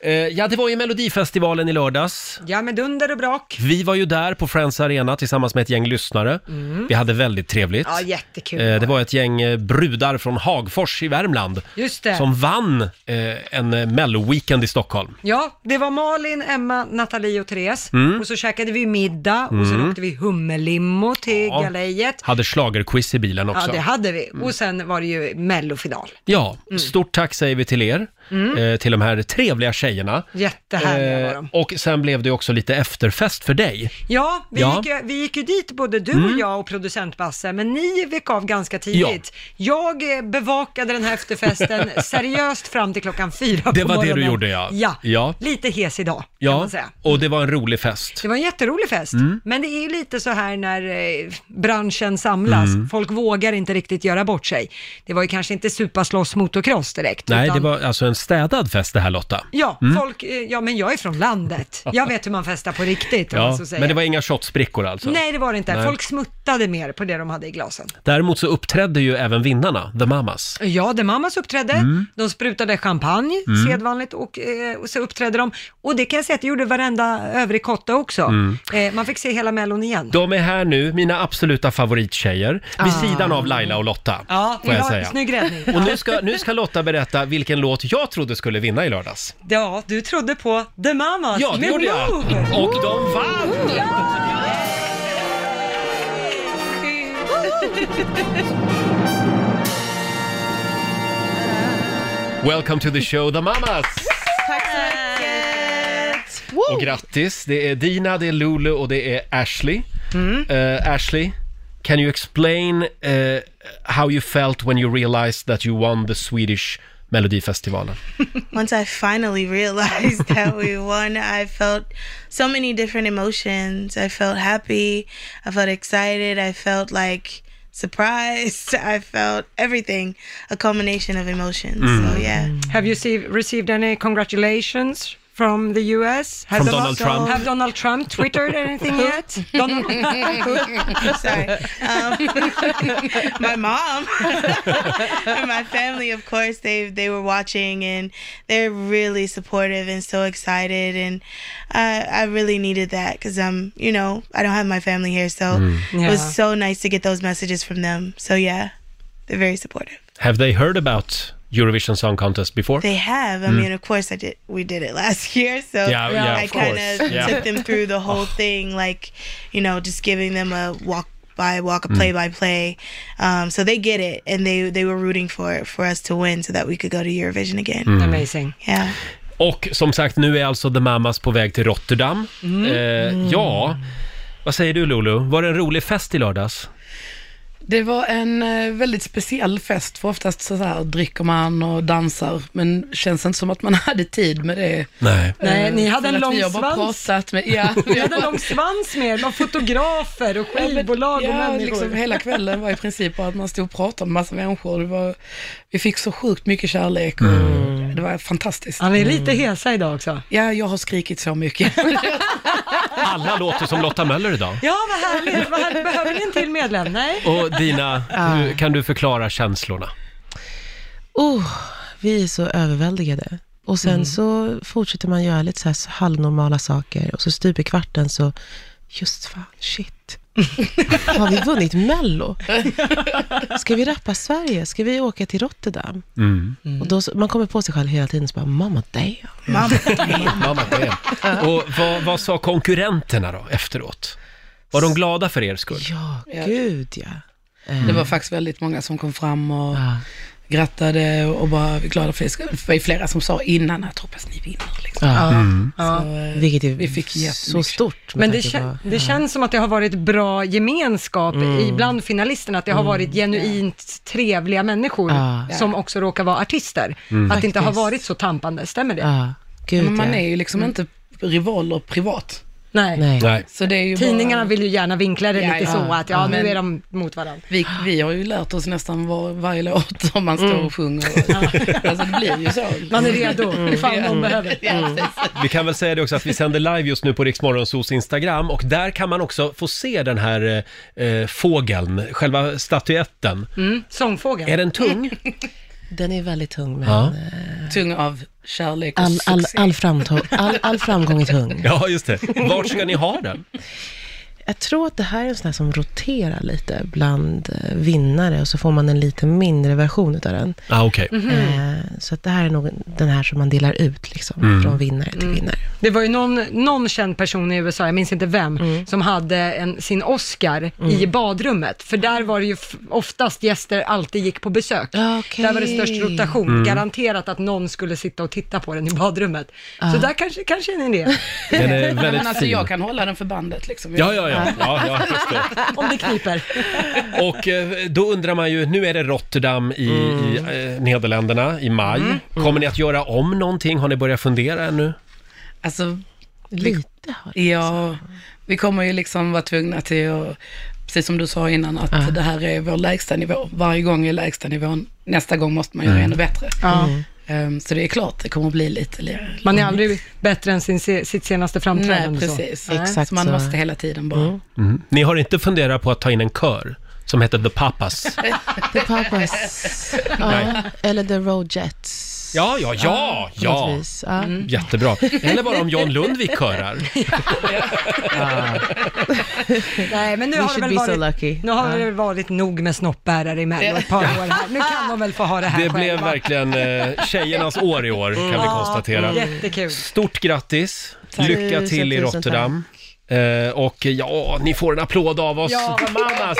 Eh, ja, det var ju Melodifestivalen i lördags. Ja, med dunder och brak. Vi var ju där på Friends Arena tillsammans med ett gäng lyssnare. Mm. Vi hade väldigt trevligt. Ja, jättekul. Eh, det var ett gäng eh, brudar från Hagfors i Värmland Just det. som vann eh, en eh, Mello-weekend i Stockholm. Ja, det var Malin, Emma, Nathalie och Therese. Mm. Och så käkade vi middag och sen Mm. åkte vi hummerlimo till Ja. galejet. Hade schlagerquiz i bilen också. Ja, det hade vi. Mm. Och sen var det ju mellofinal. Ja, stort tack säger vi till er, Mm. eh, till de här trevliga tjejerna. Jättehärliga var de. Eh, och sen blev det också lite efterfest för dig. Ja, vi, Ja. Gick, ju- vi gick ju dit både du och Mm. jag och producent Basse, men ni vek av ganska tidigt. Jag eh, bevakade den här efterfesten seriöst fram till klockan fyra Det på var det morgonen. du gjorde ja. Ja, ja. lite hes idag kan Ja, man säga. och det var en rolig fest. Det var en jätterolig fest, Mm. men det är ju lite så här när eh, branschen samlas. Mm. Folk vågar inte riktigt göra bort sig. Det var ju kanske inte supa, slåss, motocross direkt. Nej, utan- det var alltså en städad fest det här Lotta. Ja, Mm. folk, eh, ja, men jag är från landet. Jag vet hur man festar på riktigt, om man Ja, så säger. men det var inga shotsbrickor alltså? Nej, det var det inte. Nej. Folk smuttade mer på det de hade i glasen. Däremot så uppträdde ju även vinnarna, The Mamas. Ja, The Mamas uppträdde, Mm. de sprutade champagne Mm. sedvanligt och, eh, och så uppträdde de. Och det kan jag säga att det gjorde varenda övrig kotte också. Mm. Eh, man fick se hela Mellon igen. De är här nu, mina absoluta favorittjejer, vid Ah. sidan av Laila och Lotta. Ja, får jag ja, säga. snygg räddning. Och nu ska, nu ska Lotta berätta vilken låt jag trodde skulle vinna i lördags. Ja, du trodde på The Mamas Ja, det med gjorde jag. Move. Och de vann! Welcome to the show, The Mamas! Tack så mycket! Och grattis, det är Dina, det är Lulu och det är Ashley. Mm. Eh, Ashley, can you explain eh, how you felt when you realized that you won the Swedish Melodifestivalen? once I finally realized that we won, I felt so many different emotions. I felt happy, I felt excited, I felt like surprised, I felt everything, a culmination of emotions. So, yeah. Have you see, received any congratulations? From the US? Has From a lot- Donald Trump. Have Donald Trump twittered anything yet? Donald Sorry. Um, my mom and my family, of course, they they were watching and they're really supportive and so excited. And I I really needed that because I'm you know I don't have my family here, so Mm. it Yeah. was so nice to get those messages from them. So yeah, they're very supportive. Have they heard about Eurovision Song Contest before? They have. I Mm. mean, of course, I did. We did it last year, so Yeah, yeah, I of kind course. of Yeah. took them through the whole thing, like you know, just giving them a walk by walk, a Mm. play by play. Um, so they get it, and they they were rooting for it for us to win, so that we could go to Eurovision again. Mm. Amazing. Yeah. Och som sagt, nu är alltså The Mamas på väg till Rotterdam. Mm. Eh, ja, vad säger du Lulu? Var det en rolig fest i lördags? Det var en eh, väldigt speciell fest, för oftast så här dricker man och dansar, men känns inte som att man hade tid med det. Nej. Nej, Eh, ni hade för en att lång vi har bara svans. pratat med, ja, Ni hade en lång svans med er, det var fotografer och skivbolag ja, och människor. Liksom, hela kvällen var i princip bara att man stod och pratade med massa människor. Det var, vi fick så sjukt mycket kärlek och det var fantastiskt. Han är lite hesa idag också. Ja, jag har skrikit så mycket. Alla låter som Lotta Möller idag. Ja, vad härligt. Vad härligt. Behöver ni en till medlem? Nej. Och Dina, hur kan du förklara känslorna? Oh, vi är så överväldigade. Och sen Mm. så fortsätter man göra lite så här halvnormala saker och så stup i kvarten så, just fan, shit. Har vi vunnit Mello? Ska vi rappa Sverige? Ska vi åka till Rotterdam? Mm. Och då, så- man kommer på sig själv hela tiden så bara, mamma damn. Mm. Mamma damn. Och vad, vad sa konkurrenterna då efteråt? Var de glada för er skull? Ja, gud ja. Det Mm. var faktiskt väldigt många som kom fram och grattade och bara var glada för det. Det var ju flera som sa innan att hoppas ni vinner. Liksom. Ja. Ah, Mm. Så, eh, Vilket är vi fick så jättemycket. stort. med Men det, tanke kän- på- det känns som att det har varit bra gemenskap Mm. i bland finalisterna, att det har varit genuint trevliga människor Ja. som också råkar vara artister. Mm. Att det inte har Faktiskt. varit så tampande, stämmer det? Mm. Ja, gud Men man ja. är ju liksom inte rivaler privat. Nej. Nej. Nej. Så det är ju Tidningarna bara... vill ju gärna vinkla det Ja, lite ja. så att, ja, Ja. nu Men- är de mot varandra. Vi, vi har ju lärt oss nästan var, varje låt om man står Mm. och sjunger. Alltså det blir ju så. Man är redo, ifall någon Mm. behöver. Ja, precis. Vi kan väl säga det också att vi sänder live just nu på Riksmorgonsos Instagram och där kan man också få se den här eh, eh, fågeln, själva statyetten. Mm. Sångfågeln. Är den tung? Den är väldigt tung, men Ja. eh, Tung av kärlek och all, all, succé. all, framtå- all, all framgång är tung. Ja, just det. Vart ska ni ha den? Jag tror att det här är en sån här som roterar lite bland eh, vinnare och så får man en lite mindre version av den. Ah, okej. Eh, Så att det här är nog den här som man delar ut liksom, Mm. från vinnare till Mm. vinnare. Det var ju någon, någon känd person i USA, jag minns inte vem, Mm. som hade en, sin Oscar i badrummet. För där var det ju f- oftast gäster alltid gick på besök. Där var det störst rotation. Mm. Garanterat att någon skulle sitta och titta på den i badrummet. Ja. Ah. Så där kanske, kanske är en idé. Den är Ja, väldigt men alltså fin. jag kan hålla den för bandet liksom. Ja, ja, ja. ja, ja just det. Om det kniper. Och eh, då undrar man ju, nu är det Rotterdam i, i Mm. eh, Nederländerna i maj. Kommer ni att göra om någonting? Har ni börjat fundera ännu? Alltså, lite har Ja, vi kommer ju liksom vara tvungna till att, precis som du sa innan, att det här är vår lägsta nivå. Varje gång är lägsta nivån, nästa gång måste man göra Mm. ännu bättre. Ja. Mm. Ehm, så det är klart, det kommer att bli lite... lite Man är aldrig bättre än sin, se- sitt senaste framträdande. Mm. Nej, precis. Så. Exakt Så man så. måste hela tiden bara... Mm. Ni har inte funderat på att ta in en kör som heter The Papas? The Papas. Nej. ja. Eller The Road Jets. Ja, ja, ja, på ja. något vis. Ja. Mm. Jättebra. Eller bara om John Lundvik körar. Ah, Nej, men nu We har, det should väl be so varit, lucky. nu har Ja. det väl varit nog med snoppbärare i Mello ett par år här. Nu kan de väl få ha det här Det blev själva. verkligen eh, tjejernas år i år, kan vi Ja, Mm. konstatera. Jättekul. Stort grattis! Tack. Lycka Tusen, till i tusen Rotterdam. Eh, och ja, ni får en applåd av oss. Ja, The Mamas!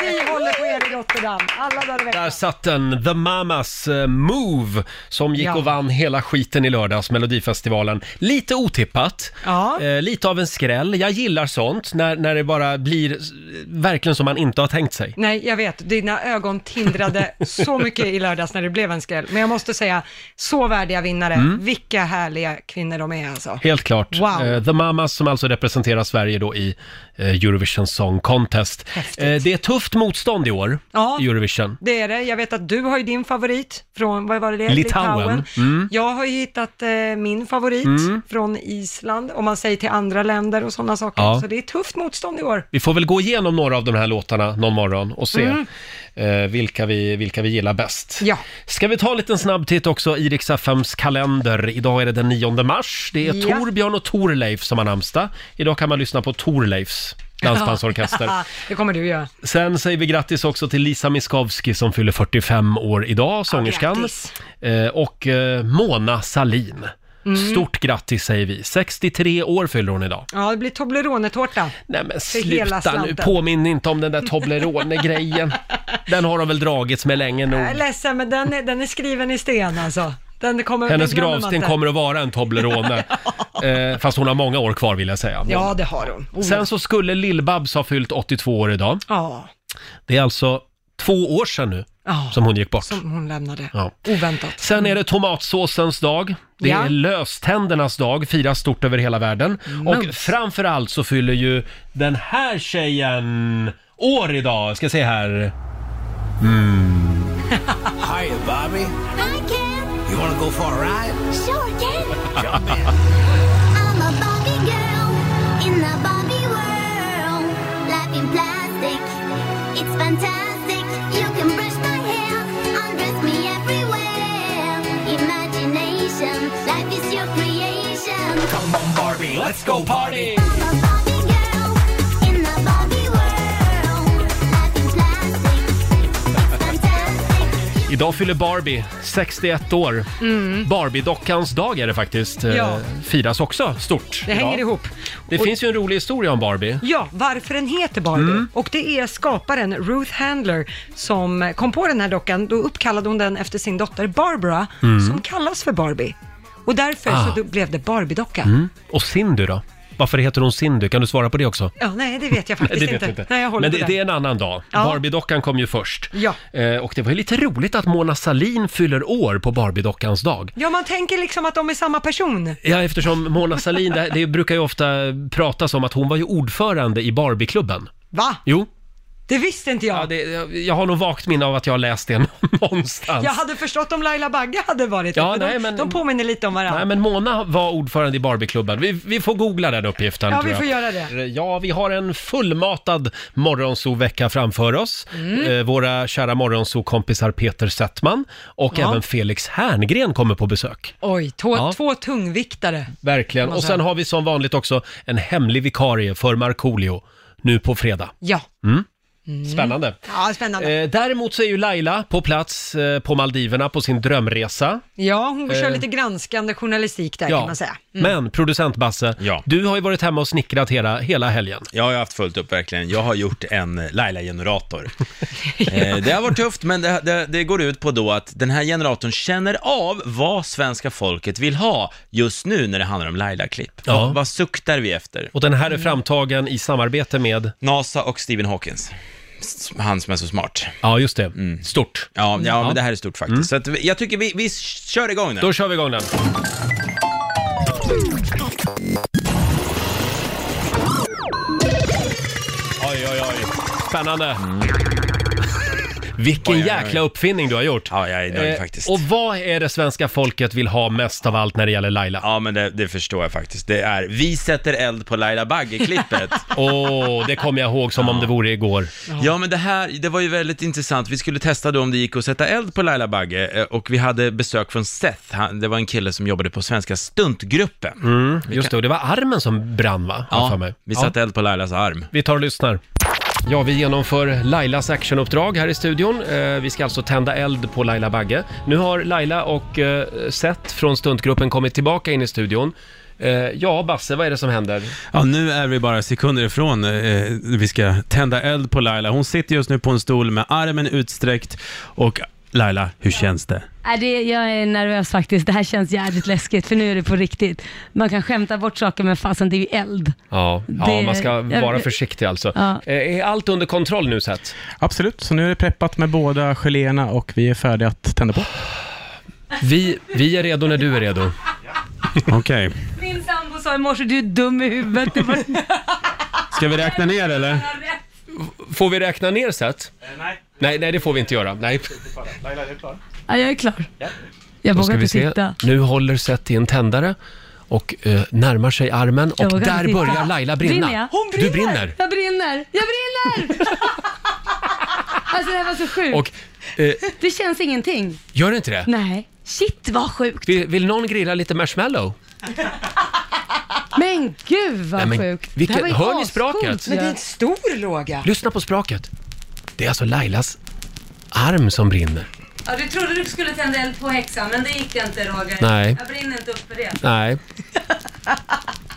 Vi håller på er i Rotterdam, alla dagar i veckan. Där satt den, The Mamas eh, Move, som gick och vann hela skiten i lördags, Melodifestivalen. Lite otippat, eh, lite av en skräll. Jag gillar sånt, när, när det bara blir eh, verkligen som man inte har tänkt sig. Nej, jag vet. Dina ögon tindrade så mycket i lördags när det blev en skräll. Men jag måste säga, så värdiga vinnare. Mm. Vilka härliga kvinnor de är alltså. Helt klart. Wow. Eh, The Mamas som alltså representerar Sverige då i eh, Eurovision Song Contest. Eh, det är tufft motstånd i år Ja. i Eurovision. Det är det. Jag vet att du har ju din favorit från, vad var det? Litauen. Mm. Jag har ju hittat eh, min favorit Mm. från Island, om man säger till andra länder och sådana saker. Ja. Så det är tufft motstånd i år. Vi får väl gå igenom några av de här låtarna någon morgon och se Mm. eh, vilka, vi, vilka vi gillar bäst. Ja. Ska vi ta en liten snabb titt också i Rix FMs kalender. Idag är det den 9 mars. Det är Ja. Torbjörn och Torleif som har namnsdag. Idag kan man lyssna på Torleifs dansbandsorkester. det kommer du göra. Sen säger vi grattis också till Lisa Miskovsky som fyller 45 år idag, sångerskan. Eh, och eh, Mona Salin. Mm. Stort grattis säger vi. 63 år fyller hon idag. Ja, det blir Toblerone-tårta. Nej men För hela Sluta nu, slanten. påminn inte om den där Toblerone-grejen. Den har de väl dragits med länge nog. Jag är ledsen, men den är, den är skriven i sten alltså. Den kommer, den Hennes glömmer man gravsten inte. kommer att vara en Toblerone. eh, fast hon har många år kvar vill jag säga. Ja, det har hon. Oh. Sen så skulle Lill-Babs ha fyllt 82 år idag. Ja. Det är alltså två år sedan nu Ja. som hon gick bort. Som hon lämnade. Ja. Oväntat. Sen är det tomatsåsens dag, det Ja. är löständernas dag, firas stort över hela världen. Mm. Och framförallt så fyller ju den här tjejen år idag, ska se här. Mm. Hiya, Bobby. Hi, Ken. You wanna go for a ride? Sure, Ken. Jump in. I'm a Bobby girl in the Bobby world. Life in plastic, it's fantastic. You can brush my hair, undress me everywhere. Imagination, life is your creation. Come on, Barbie, let's go party. Idag fyller Barbie 61 år. Barbie-dockans dag är det faktiskt. eh, Mm. Ja. Firas också stort. Det hänger idag. ihop. Det Och- finns ju en rolig historia om Barbie. Ja, varför den heter Barbie. Mm. Och det är skaparen Ruth Handler som kom på den här dockan. Då uppkallade hon den efter sin dotter Barbara, Mm. som kallas för Barbie. Och därför Ah. så då blev det Barbie-docka. Mm. Och Cindy då? Varför heter hon Cindy? Kan du svara på det också? Ja, nej, det vet jag Nej, faktiskt det vet inte. jag inte. Nej, jag håller Men det, på det är den. en annan dag. Ja. Barbie-dockan kom ju först. Ja. Eh, och det var ju lite roligt att Mona Salin fyller år på Barbie-dockans dag. ja, man tänker liksom att de är samma person. Ja, eftersom Mona Salin, det, det brukar ju ofta pratas om att hon var ju ordförande i Barbieklubben. Va? Jo. Det visste inte jag. Ja, det, jag, jag har nog vagt minne av att jag har läst det någonstans. Jag hade förstått om Laila Bagge hade varit Ja, det, för nej, de, men- de påminner lite om varandra. Nej, men Mona var ordförande i Barbieklubben. Vi, vi får googla den uppgiften. Ja, vi tror jag. får göra det. Ja, vi har en fullmatad morgonsovecka framför oss. Mm. Eh, våra kära morgonsokompisar Peter Settman och Ja. även Felix Herngren kommer på besök. Oj, två, Ja. två tungviktare. Verkligen. Kan man Och säga. sen har vi som vanligt också en hemlig vikarie för Markoolio nu på fredag. Ja. Mm. Mm. Spännande. Ja, spännande. Eh, däremot så är ju Laila på plats eh, på Maldiverna på sin drömresa. Ja, hon kör eh, lite granskande journalistik där kan man säga. Mm. Men producent Basse, du har ju varit hemma och snickrat hela, hela helgen. Ja, jag har haft fullt upp verkligen. Jag har gjort en Laila-generator. Eh, Det har varit tufft, men det, det, det går ut på då att den här generatorn känner av vad svenska folket vill ha just nu när det handlar om Laila-klipp. Ja. Vad, vad suktar vi efter? Och den här är framtagen i samarbete med? NASA och Stephen Hawkins. S- Han som är så smart. Ja, just det. Stort. Mm. Ja, ja, Ja. Mm. men det här är stort faktiskt. Så att, vi- jag tycker vi, vi kör igång den. Då kör vi igång den. Oj, oj, oj. Spännande. Vilken Mm. Oj, oj, oj. jäkla uppfinning du har gjort. Ja, jag är nöjd Eh, faktiskt. Och vad är det svenska folket vill ha mest av allt när det gäller Laila? Ja, men det, det förstår jag faktiskt. Det är Vi sätter eld på Laila Bagge-klippet. Åh, det kommer jag ihåg som om det vore igår. Ja, men det här, det var ju väldigt intressant. Vi skulle testa då om det gick att sätta eld på Laila Bagge eh, och vi hade besök från Seth. Han, det var en kille som jobbade på svenska stuntgruppen. Mm, just det, och det var armen som brann va? Har jag för Ja, mig. vi Ja. satte eld på Lailas arm. Vi tar och lyssnar. Ja, vi genomför Lailas actionuppdrag här i studion. Eh, vi ska alltså tända eld på Laila Bagge. Nu har Laila och eh, Seth från stuntgruppen kommit tillbaka in i studion. Eh, ja, Basse, vad är det som händer? Ja, nu är vi bara sekunder ifrån eh, vi ska tända eld på Laila. Hon sitter just nu på en stol med armen utsträckt och Laila, hur känns det? Nej, det, jag är nervös faktiskt. Det här känns jävligt läskigt för nu är det på riktigt. Man kan skämta bort saker men fasen det är ju eld. Ja, Det- man ska jag- vara försiktig alltså. Ja. Eh, är allt under kontroll nu, Seth? Absolut, så nu är det preppat med båda geléerna och vi är färdiga att tända på. Vi, vi är redo när du är redo. Okej, Min sambo sa i morse du är dum i huvudet. Det var... ska vi räkna ner eller? Får vi räkna ner Seth? nej. nej. Nej, det får vi inte göra. Nej. Laila, är du klar? ja, jag är klar. Jag Då vågar ska vi inte se. titta. Nu håller Seth i en tändare och eh, närmar sig armen Jag och vågar där inte titta. börjar Laila Brinner brinna. jag? Du brinner! Jag brinner! Jag brinner! alltså det här var så sjukt. Och eh, Det känns ingenting. gör det inte det? Nej. Shit vad sjukt. Vill, vill någon grilla lite marshmallow? Men gud vad Nej, men sjukt. vilken- Det här var ju hör ni ascoolt. spraket? Men det är en stor låga. Lyssna på språket. Det är alltså Lailas arm som brinner. Ja, du trodde du skulle tända eld på häxan, men det gick inte Roger. Nej. Jag brinner inte upp för det. Nej.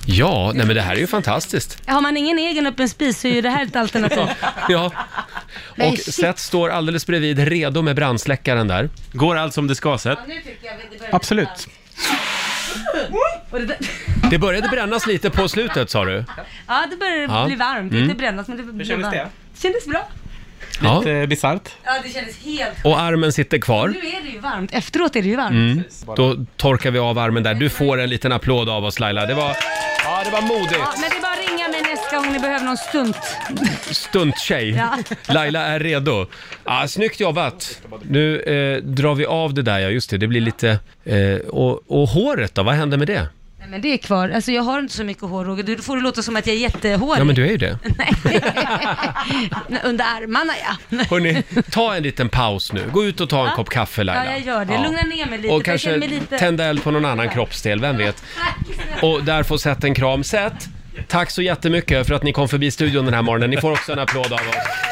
Ja, nej men det här är ju fantastiskt. Har man ingen egen öppen spis så är ju det här ett alternativ. Ja. Men Och shit. Seth står alldeles bredvid, redo med brandsläckaren där. Går allt som det ska, Seth? nu tycker jag det börjar Absolut. Och det där- Det började brännas lite på slutet sa du? Ja, det börjar Ja. bli varmt. Mm. Inte brännas, men det blir kändes varmt. det? Kändes bra. Lite ja. bisarrt. Ja, det kändes helt Och armen sitter kvar. Nu är det ju varmt. Efteråt är det ju varmt. Mm. Då torkar vi av armen där. Du får en liten applåd av oss Laila. Det var Ja, det var Ja, modigt. men det är bara att ringa mig nästa gång ni behöver någon stunt. Stunttjej. Ja. Laila är redo. Ja, snyggt jobbat. Nu eh, drar vi av det där, ja just det. Det blir lite... Eh, och, och håret då, vad händer med det? Nej, men det är kvar. Alltså jag har inte så mycket hår Roger. Du får det låta som att jag är jättehårig. Ja men du är ju det. Nej, Under armarna ja. Hörni, ta en liten paus nu. Gå ut och ta en kopp kaffe Laila. Ja, jag gör det. Ja. Lugna ner mig lite. Och för jag känner kanske mig lite... tända eld på någon annan kroppsdel, vem vet? Och där får Seth en kram. Seth, tack så jättemycket för att ni kom förbi studion den här morgonen. Ni får också en applåd av oss.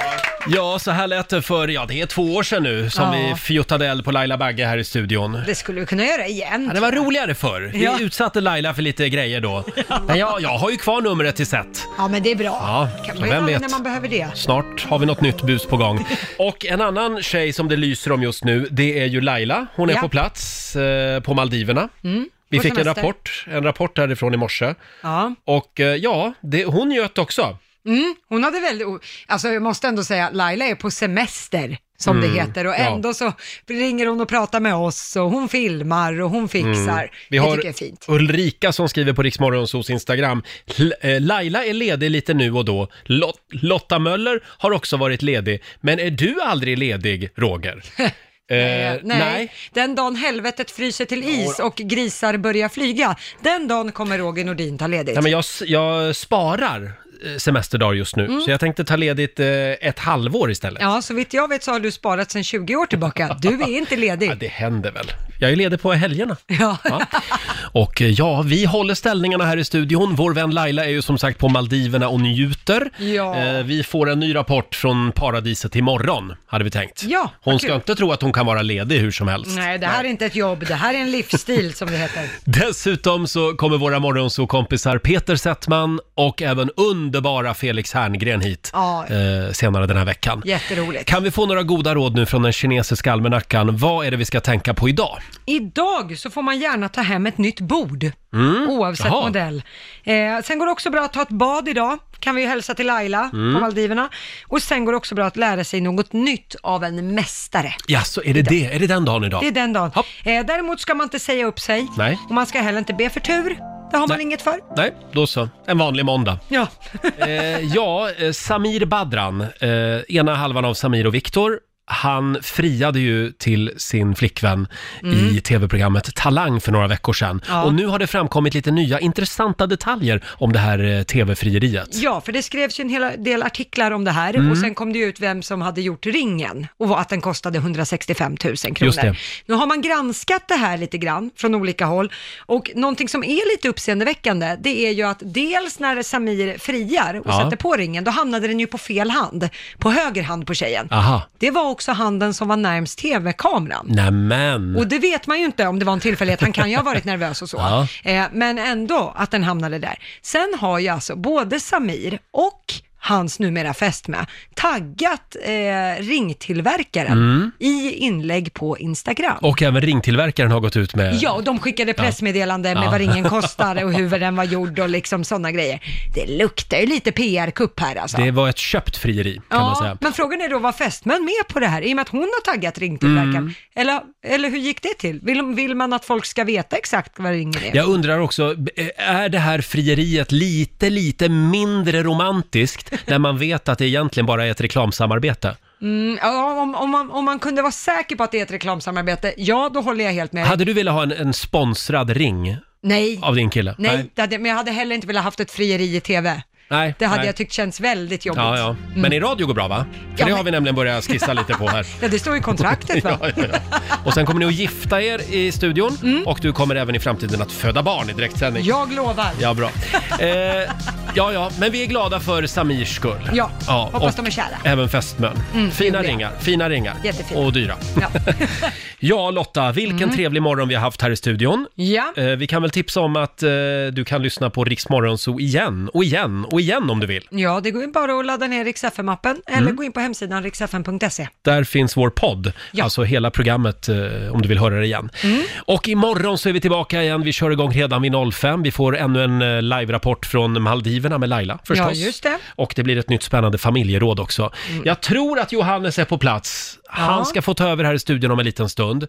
Ja, så här lät det för, ja det är två år sedan nu som Ja. vi fjuttade eld på Laila Bagge här i studion. Det skulle vi kunna göra igen. Ja, det var roligare förr. Vi Ja. utsatte Laila för lite grejer då. Men jag, jag har ju kvar numret till Seth. Ja, men det är bra. Ja, kan så man vem ju vet? när man behöver det. Snart har vi något nytt bus på gång. Och en annan tjej som det lyser om just nu, det är ju Laila. Hon är Ja. på plats eh, på Maldiverna. Mm, Vi på fick en semester. rapport, en rapport därifrån i morse. Ja. Och eh, ja, det, hon njöt också. Mm, hon hade väldigt, o- alltså jag måste ändå säga, Laila är på semester som Mm, det heter och ja. ändå så ringer hon och pratar med oss och hon filmar och hon fixar. Mm. Vi Det har tycker jag är fint. Ulrika som skriver på Riksmorgonsos Instagram. "L- eh, Laila är ledig lite nu och då. Lot- Lotta Möller har också varit ledig. Men är du aldrig ledig, Roger? Eh, Eh, Den dagen helvetet fryser till is och grisar börjar flyga, den dagen kommer Roger Nordin ta ledigt. Nej, men jag, s- jag sparar eh, semesterdagar just nu, Mm. så jag tänkte ta ledigt eh, ett halvår istället. Ja, så vitt jag vet så har du sparat sedan 20 år tillbaka. Du är inte ledig. Ja, det händer väl. Jag är ledig på helgerna. Ja. Och eh, ja, vi håller ställningarna här i studion. Vår vän Laila är ju som sagt på Maldiverna och njuter. Ja. Eh, Vi får en ny rapport från paradiset imorgon, hade vi tänkt. Ja, hon vad ska kul. inte tro att hon kan vara ledig hur som helst. Nej, det här är inte ett jobb, det här är en livsstil som det heter. Dessutom så kommer våra morgonsokompisar Peter Settman och även underbara Felix Herngren hit Ja. eh, senare den här veckan. Jätteroligt. Kan vi få några goda råd nu från den kinesiska almanackan? Vad är det vi ska tänka på idag? Idag så får man gärna ta hem ett nytt bord, Mm. oavsett Jaha. modell. Eh, sen går det också bra att ta ett bad idag, kan vi ju hälsa till Laila Mm. på Maldiverna. Och sen går det också bra att lära sig något nytt av en mästare. Ja, så är det det? Är det den dagen idag? Det är den dagen. Eh, däremot ska man inte säga upp sig. Nej. Och man ska heller inte be för tur. Det har man inget för. Nej, då så. En vanlig måndag. Ja. eh, ja, eh, Samir Badran, eh, ena halvan av Samir och Viktor, han friade ju till sin flickvän Mm. i tv-programmet Talang för några veckor sedan. Ja. Och nu har det framkommit lite nya intressanta detaljer om det här eh, tv-frieriet. Ja, för det skrevs ju en hel del artiklar om det här Mm. och sen kom det ju ut vem som hade gjort ringen och vad- att den kostade 165 000 kronor. Just det. Nu har man granskat det här lite grann från olika håll och någonting som är lite uppseendeväckande det är ju att dels när Samir friar och Ja. sätter på ringen, då hamnade den ju på fel hand, på höger hand på tjejen. Aha. Det var också handen som var närmst tv-kameran. Nämen! Och det vet man ju inte om det var en tillfällighet, han kan ju ha varit nervös och så. Ja. Eh, men ändå att den hamnade där. Sen har ju alltså både Samir och hans numera fästmö taggat eh, ringtillverkaren Mm. i inlägg på Instagram. Och även ringtillverkaren har gått ut med... Ja, och de skickade pressmeddelande med eh, Ja. vad ringen kostade och hur den var gjord och liksom sådana grejer. Det luktar ju lite PR-kupp här alltså. Det var ett köpt frieri, kan man säga. men frågan är då, var fästmön med på det här? I och med att hon har taggat ringtillverkaren. Mm. Eller, eller hur gick det till? Vill, vill man att folk ska veta exakt vad ringen är? Jag undrar också, eh, är det här frieriet lite, lite mindre romantiskt när man vet att det egentligen bara är ett reklamsamarbete? Mm, ja, om, om, man, om man kunde vara säker på att det är ett reklamsamarbete, ja då håller jag helt med. Hade du velat ha en, en sponsrad ring Nej, av din kille? nej, Det hade, men jag hade heller inte velat haft ett frieri i TV. Nej, Det hade nej. jag tyckt känns väldigt jobbigt. Mm. Ja, ja. Men i radio går bra va? För Ja, det har men- vi nämligen börjat skissa lite på här. Ja, det står i kontraktet va? Ja, ja, ja. Och sen kommer ni att gifta er i studion och du kommer även i framtiden att föda barn i direktsändning. Mm. Jag lovar. Ja, bra. Eh, ja, ja, men vi är glada för Samirs skull. Ja, hoppas och Eh. de är kära. Även fästmön. Mm, fina gjorde jag. ringar, fina ringar. Jättefina. Och dyra. Ja, Lotta, vilken Mm. trevlig morgon vi har haft här i studion. Ja. Eh, vi kan väl tipsa om att eh, du kan lyssna på Riks Morgonzoo igen och igen och igen om du vill. Ja, det går ju bara att ladda ner riksfm-appen eller Mm. gå in på hemsidan riksfm.se. Där finns vår podd, alltså hela programmet eh, om du vill höra det igen. Mm. Och imorgon så är vi tillbaka igen. Vi kör igång redan vid 05. Vi får ännu en eh, live-rapport från skivorna med Laila förstås. Ja, just det. Mm. Och det blir ett nytt spännande familjeråd också. Jag tror att Johannes är på plats. Han Ja. ska få ta över här i studion om en liten stund.